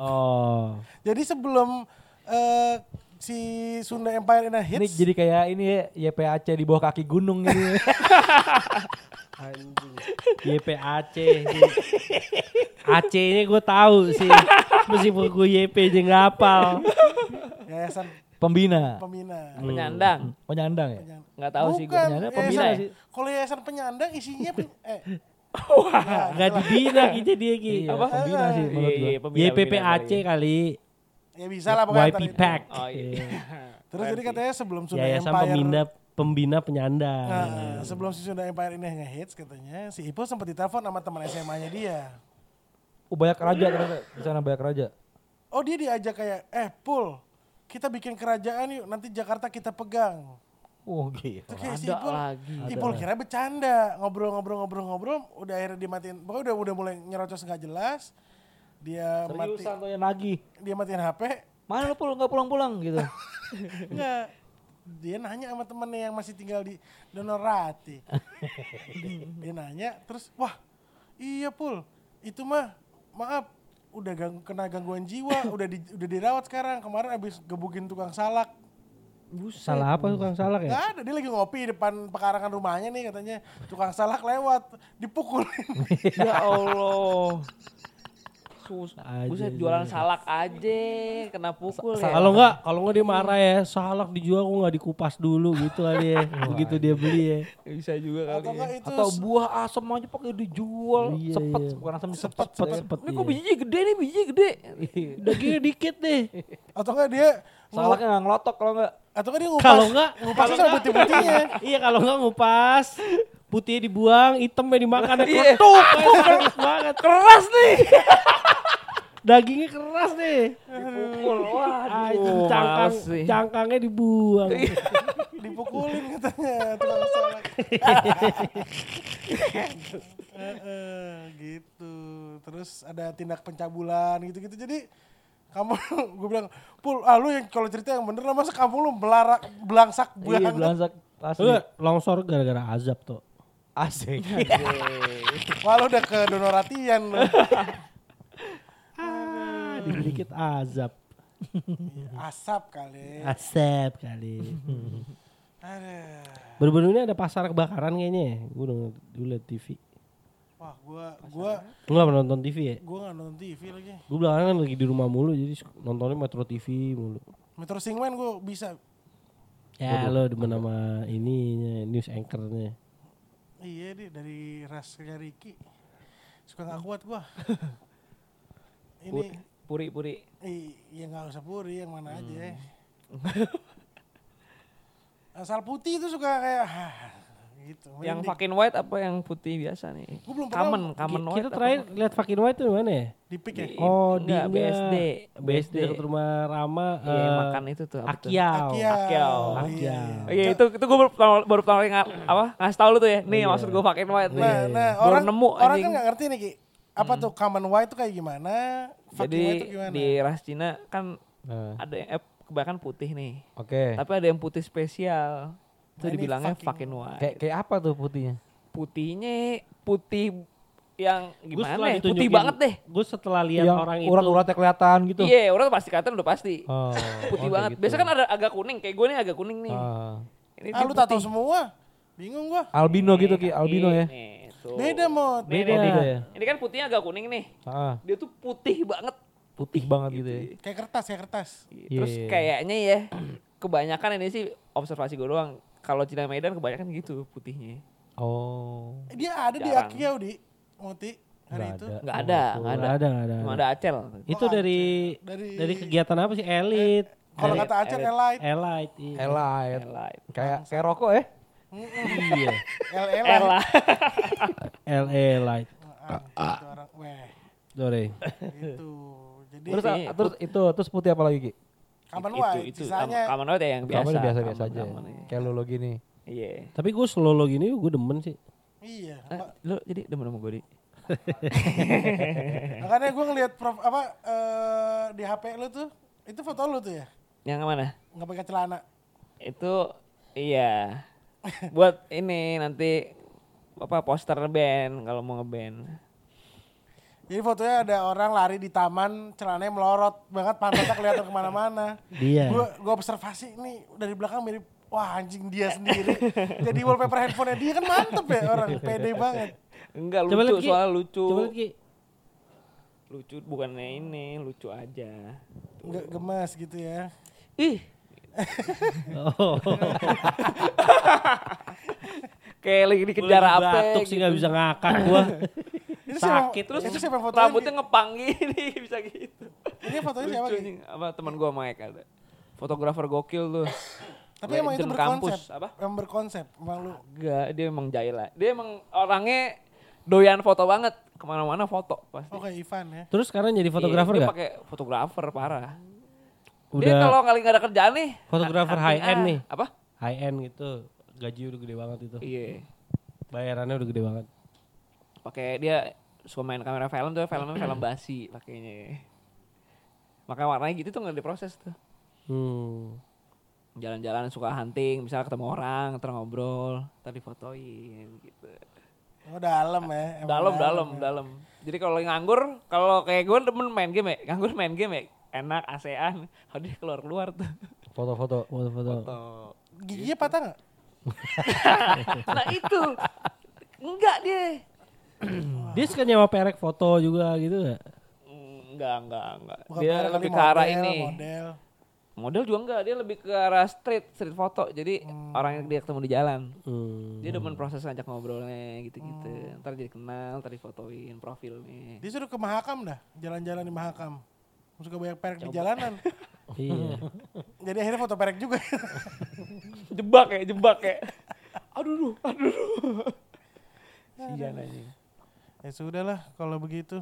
Oh.
Jadi sebelum eh, si Sunda Empire in a
Ini
Hits,
jadi kayak ini ya, YPAC di bawah kaki gunung ini.
YPAC AC ini gue tahu sih meskipun gue YP aja nggak hafal
Yayasan
Pembina.
Pembina.
Hmm. Penyandang.
Penyandang ya?
Penyandang.
Nggak tahu sih gue.
Bukan, Iya, yayasan-
Penyandang,
ya?
pembina sih.
Kalau yayasan penyandang isinya pen- eh. Nah,
nggak dibina gitu dia ki
Iya, Pembina sih menurut
Iya,
gue.
iya, pembina, pembina
YPPAC
kali ya.
kali
ya bisa lah pokoknya
YP
ntar itu.
Pack
Oh iya.
Terus jadi katanya sebelum Sunda
Yayasan
Empire
Pembina pembina penyandang.
Nah, sebelum si Sunda Empire ini ngehits katanya, si Ipul sempat ditelepon sama teman SMA-nya dia.
Oh banyak raja ternyata di sana banyak raja.
Oh dia diajak kayak, eh Pul, kita bikin kerajaan yuk, nanti Jakarta kita pegang.
Oh gitu.
Itu kayak si
Ada
Ipul,
lagi.
Ipul kira bercanda, ngobrol-ngobrol-ngobrol-ngobrol, udah akhirnya dimatiin, pokoknya udah, udah mulai nyerocos nggak jelas, dia mati,
Seriusan tuh yang nagih.
dia matiin HP,
Mana lu pulang nggak pulang-pulang gitu.
enggak. Dia nanya sama temennya yang masih tinggal di Donorati. dia, dia nanya, terus wah iya Pul, itu mah maaf udah gang- kena gangguan jiwa, udah di, udah dirawat sekarang. Kemarin abis gebukin tukang salak,
Salah apa tukang salak ya?
Gak ada, dia lagi ngopi di depan pekarangan rumahnya nih katanya. Tukang salak lewat, dipukul.
ya Allah. Sus,
Aja,
buset jualan salak aja, kena pukul ya.
Kalau enggak, kalau enggak dia marah ya, salak dijual kok enggak dikupas dulu gitu kali ya. Begitu dia beli ya.
bisa
Atau
juga kali. Ya.
enggak itu
Atau buah asem aja pakai dijual.
Iya,
sepet,
iya.
bukan asem sepet.
Cepet cepet.
Ini kok bijinya gede nih, bijinya gede.
Dagingnya dikit deh.
atau enggak dia
Salaknya nggak ngelotok kalau nggak.
atau enggak dia ngupas.
Kalau enggak,
ngupasnya sama putih-putihnya.
iya kalau enggak ngupas, putihnya dibuang, hitamnya dimakan.
Iya.
Ketuk, keras banget.
Keras nih.
Dagingnya keras deh.
Pukul. Waduh,
Anjing cangkang,
males sih.
cangkangnya dibuang.
Dipukulin katanya tukang salak. Eh, eh, gitu. Terus ada tindak pencabulan gitu-gitu. Jadi kamu gue bilang pul ah lu yang kalau cerita yang bener lah masa kamu lu belarak belangsak
Iya
banget
belansak. Asli.
Enggak, Eh, longsor gara-gara azab tuh.
Asik.
Wah lu udah ke donoratian lu
Ah, dikit-dikit azab.
asap kali
Azab kali.
Aduh.
Baru-baru ini ada pasar kebakaran kayaknya ya. Gue udah gue liat TV.
Wah, gua gua
Lu gak pernah nonton TV ya?
gua nggak nonton TV lagi.
Gue belakangan kan lagi di rumah mulu jadi suka nontonnya Metro TV mulu.
Metro Singman gua bisa.
Ya lo demen sama ininya, news anchornya.
Iya deh dari rasnya Ricky. Suka nggak kuat gua. Ini
Puri, puri.
i, ya nggak usah puri yang mana aja. ya. Asal putih itu suka kayak "Hah," gitu.
Yang
Merinding.
fucking white apa yang putih biasa nih?
Gua belum pernah
Common, common
Ki-
white.
Kita
apa?
terakhir lihat Fakin White tuh di mana ya?
di pick ya.
Di-
Oh, di
enggak,
enggak.
BSD.
BSD
BSD.
dekat rumah Rama
Iya,
eh,
makan itu tuh apa tuh?
Akiau.
Akiau.
Akiau.
Iya.
Oh, Iya itu itu gue baru pertama baru pertama kali nga- apa ngasih tau lu tuh ya. Nih maksud gue fucking white
Iya,
nih.
Iya. Nah, nah
Baru
orang
nemu
orang
anjing.
kan nggak ngerti nih Ki. Apa tuh common white itu kayak gimana?
Jadi
Fucking white itu gimana?
di ras Cina kan
Nah,
ada yang eh, kebanyakan putih nih.
Oke.
Tapi ada yang putih spesial. Itu
Nah, ini
dibilangnya
fucking
fucking white.
Kayak kayak apa tuh putihnya?
Putihnya putih yang
Gua
gimana
setelah
ya? Putih
ditunjukin-
banget deh.
Gue setelah lihat
Yang
orang itu.
urat-uratnya Iya, kelihatan gitu.
Iya, orang pasti kelihatan udah pasti.
Oh,
Putih
oke,
banget.
gitu.
Biasa kan ada agak kuning kayak gue nih agak kuning nih.
Ah.
Ini
ah,
dia
lu
putih.
tato semua? Bingung gua.
Albino gitu Ki,
Nih,
albino ya.
nih, tuh.
Beda mod.
Nih,
Beda.
nih, nih.
Beda ya.
Ini kan putihnya agak kuning nih.
Ah,
Dia tuh putih banget.
putih banget gitu
Iya.
ya.
Kayak kertas, kayak kertas.
Terus
Iya.
kayaknya ya kebanyakan ini sih observasi gue doang. Kalau Cina Medan kebanyakan gitu putihnya.
Oh.
Eh, Dia ada di
Jarang.
Akiau di Moti hari
Nggak
itu.
ada.
Nggak ada,
Oh,
nggak ada.
nggak ada, nggak ada.
Cuma ada Acel.
Itu dari dari,
ya? Dari-
kegiatan apa sih? Elit.
Kalau
Dari
kata Aceh
Elite.
Elite,
Elite. iya.
Elite.
Elite.
Kayak kayak rokok ya.
Iya.
LE lah.
Ella.
LA Light.
Ah,
Ah.
Gitu orang. Weh,
Dore.
gitu. Jadi
Terus
Iya.
ah, terus itu terus putih apa lagi Ki?
kapan
Itu-
wah
itu
sisanya
kaman white ya yang biasa.
Kamu biasa biasa aja.
Common- common,
Kayak lu lo gini.
Iya.
Tapi gue selalu gini gue demen sih.
iya.
Eh, Lu jadi demen sama gue di.
Makanya gue ngeliat prof, apa eh, di HP lu tuh itu foto lu tuh ya
Yang mana?
nggak pakai celana.
Itu iya. Buat ini nanti apa poster band kalau mau ngeband.
Jadi fotonya ada orang lari di taman, celananya melorot banget, pantatnya kelihatan kemana-mana.
Dia.
Gue gue observasi nih dari belakang mirip wah anjing dia sendiri. Jadi wallpaper handphonenya dia kan mantep ya orang pede banget.
Enggak
Coba
lucu
lihat, Ki.
soalnya lucu.
Coba lihat Ki.
Lucu bukannya ini, lucu aja.
Nggak gemas gitu ya.
Ih,
Oh,
kayak lagi dikejar gitu.
lagi
apa
batuk sih nggak bisa ngakak gue.
Itu
Sakit.
terus itu siapa yang fotoin?
Rambutnya ngepang gini bisa gitu.
Ini fotonya siapa
Lucu
Ki?
nih, apa teman gua Mike ada. Fotografer gokil tuh.
Tapi
Gua
emang itu
intern
berkonsep.
kampus, apa?
Emang berkonsep. Emang lu
Enggak, dia emang jahil lah. Dia emang orangnya doyan foto banget. Kemana-mana foto pasti.
oke Ivan ya.
Terus sekarang jadi Oh, fotografer
Iya, Dia
gak?
pakai fotografer parah. Dia
Udah
kalau kali nggak ada kerjaan nih.
Fotografer
hunting
high end
ah.
nih.
Apa?
high end gitu. Gaji udah gede banget itu.
Iya.
Bayarannya udah gede banget.
Pakai dia suka main kamera film tuh, filmnya film basi pakainya. Makanya warnanya gitu tuh nggak diproses tuh.
Hmm.
Jalan-jalan suka hunting, misalnya ketemu orang, terus ngobrol, terus difotoin gitu.
Oh dalam ya. emang
Dalam, dalam,
ya.
dalam. Jadi kalau nganggur, kalau kayak gue demen main game ya, nganggur main game ya, enak ASEAN, kalau dia keluar-keluar tuh.
Foto-foto.
Foto-foto.
Tuh.
ya. Giginya patah nggak?
nah itu enggak dia
Dia suka nyewa perek foto juga gitu gak?
enggak enggak enggak
Bukan
dia
merek,
lebih
kali
ke arah
model,
ini
Model.
model juga enggak dia lebih ke arah street street foto jadi orang yang dia ketemu di jalan
Hmm.
dia demen proses ngajak ngobrolnya gitu-gitu ntar jadi kenal ntar difotoin profilnya
Dia suruh ke Mahakam dah. Jalan-jalan di Mahakam. Suka banyak perek di jalanan.
iya.
Jadi akhirnya foto perek juga.
jebak ya jebak ya aduh duh, aduh duh. Sian anjing.
ya sudahlah kalau begitu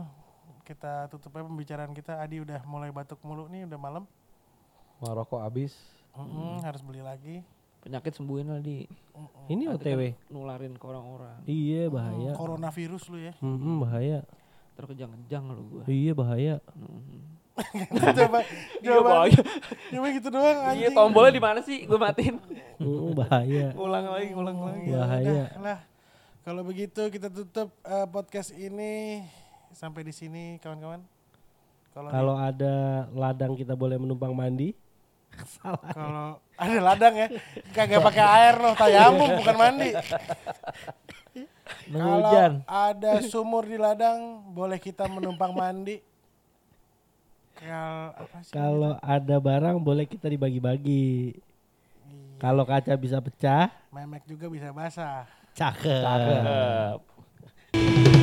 kita tutup aja pembicaraan kita. Adi udah mulai batuk mulu nih udah malam.
Mau rokok habis.
Mm-mm, harus beli lagi.
penyakit sembuhin lah di
Ini OTW.
kan? nularin ke orang-orang
Iya
Ah,
bahaya.
Coronavirus lu ya.
Mm-mm, bahaya.
terkejang-kejang lu gua
Iya bahaya.
coba coba.
Iya, bahaya.
Cuma gitu doang
iya
anjing.
tombolnya di mana sih gua matiin
Mm, bahaya.
ulang lagi ulang lagi
Ya
Bahaya.
udah lah. Kalau begitu kita tutup eh, podcast ini sampai di sini kawan-kawan. Kalau
Kalau ada ladang kita boleh menumpang mandi.
kalau ada ladang ya, kagak pakai air loh, tayamum bukan mandi.
Nunggu hujan.
Kalau ada sumur di ladang, boleh kita menumpang mandi. Kalau apa sih?
Kalau ada barang boleh kita dibagi-bagi. Kalau kaca bisa pecah,
Memek juga bisa basah.
cakep.
Cakep.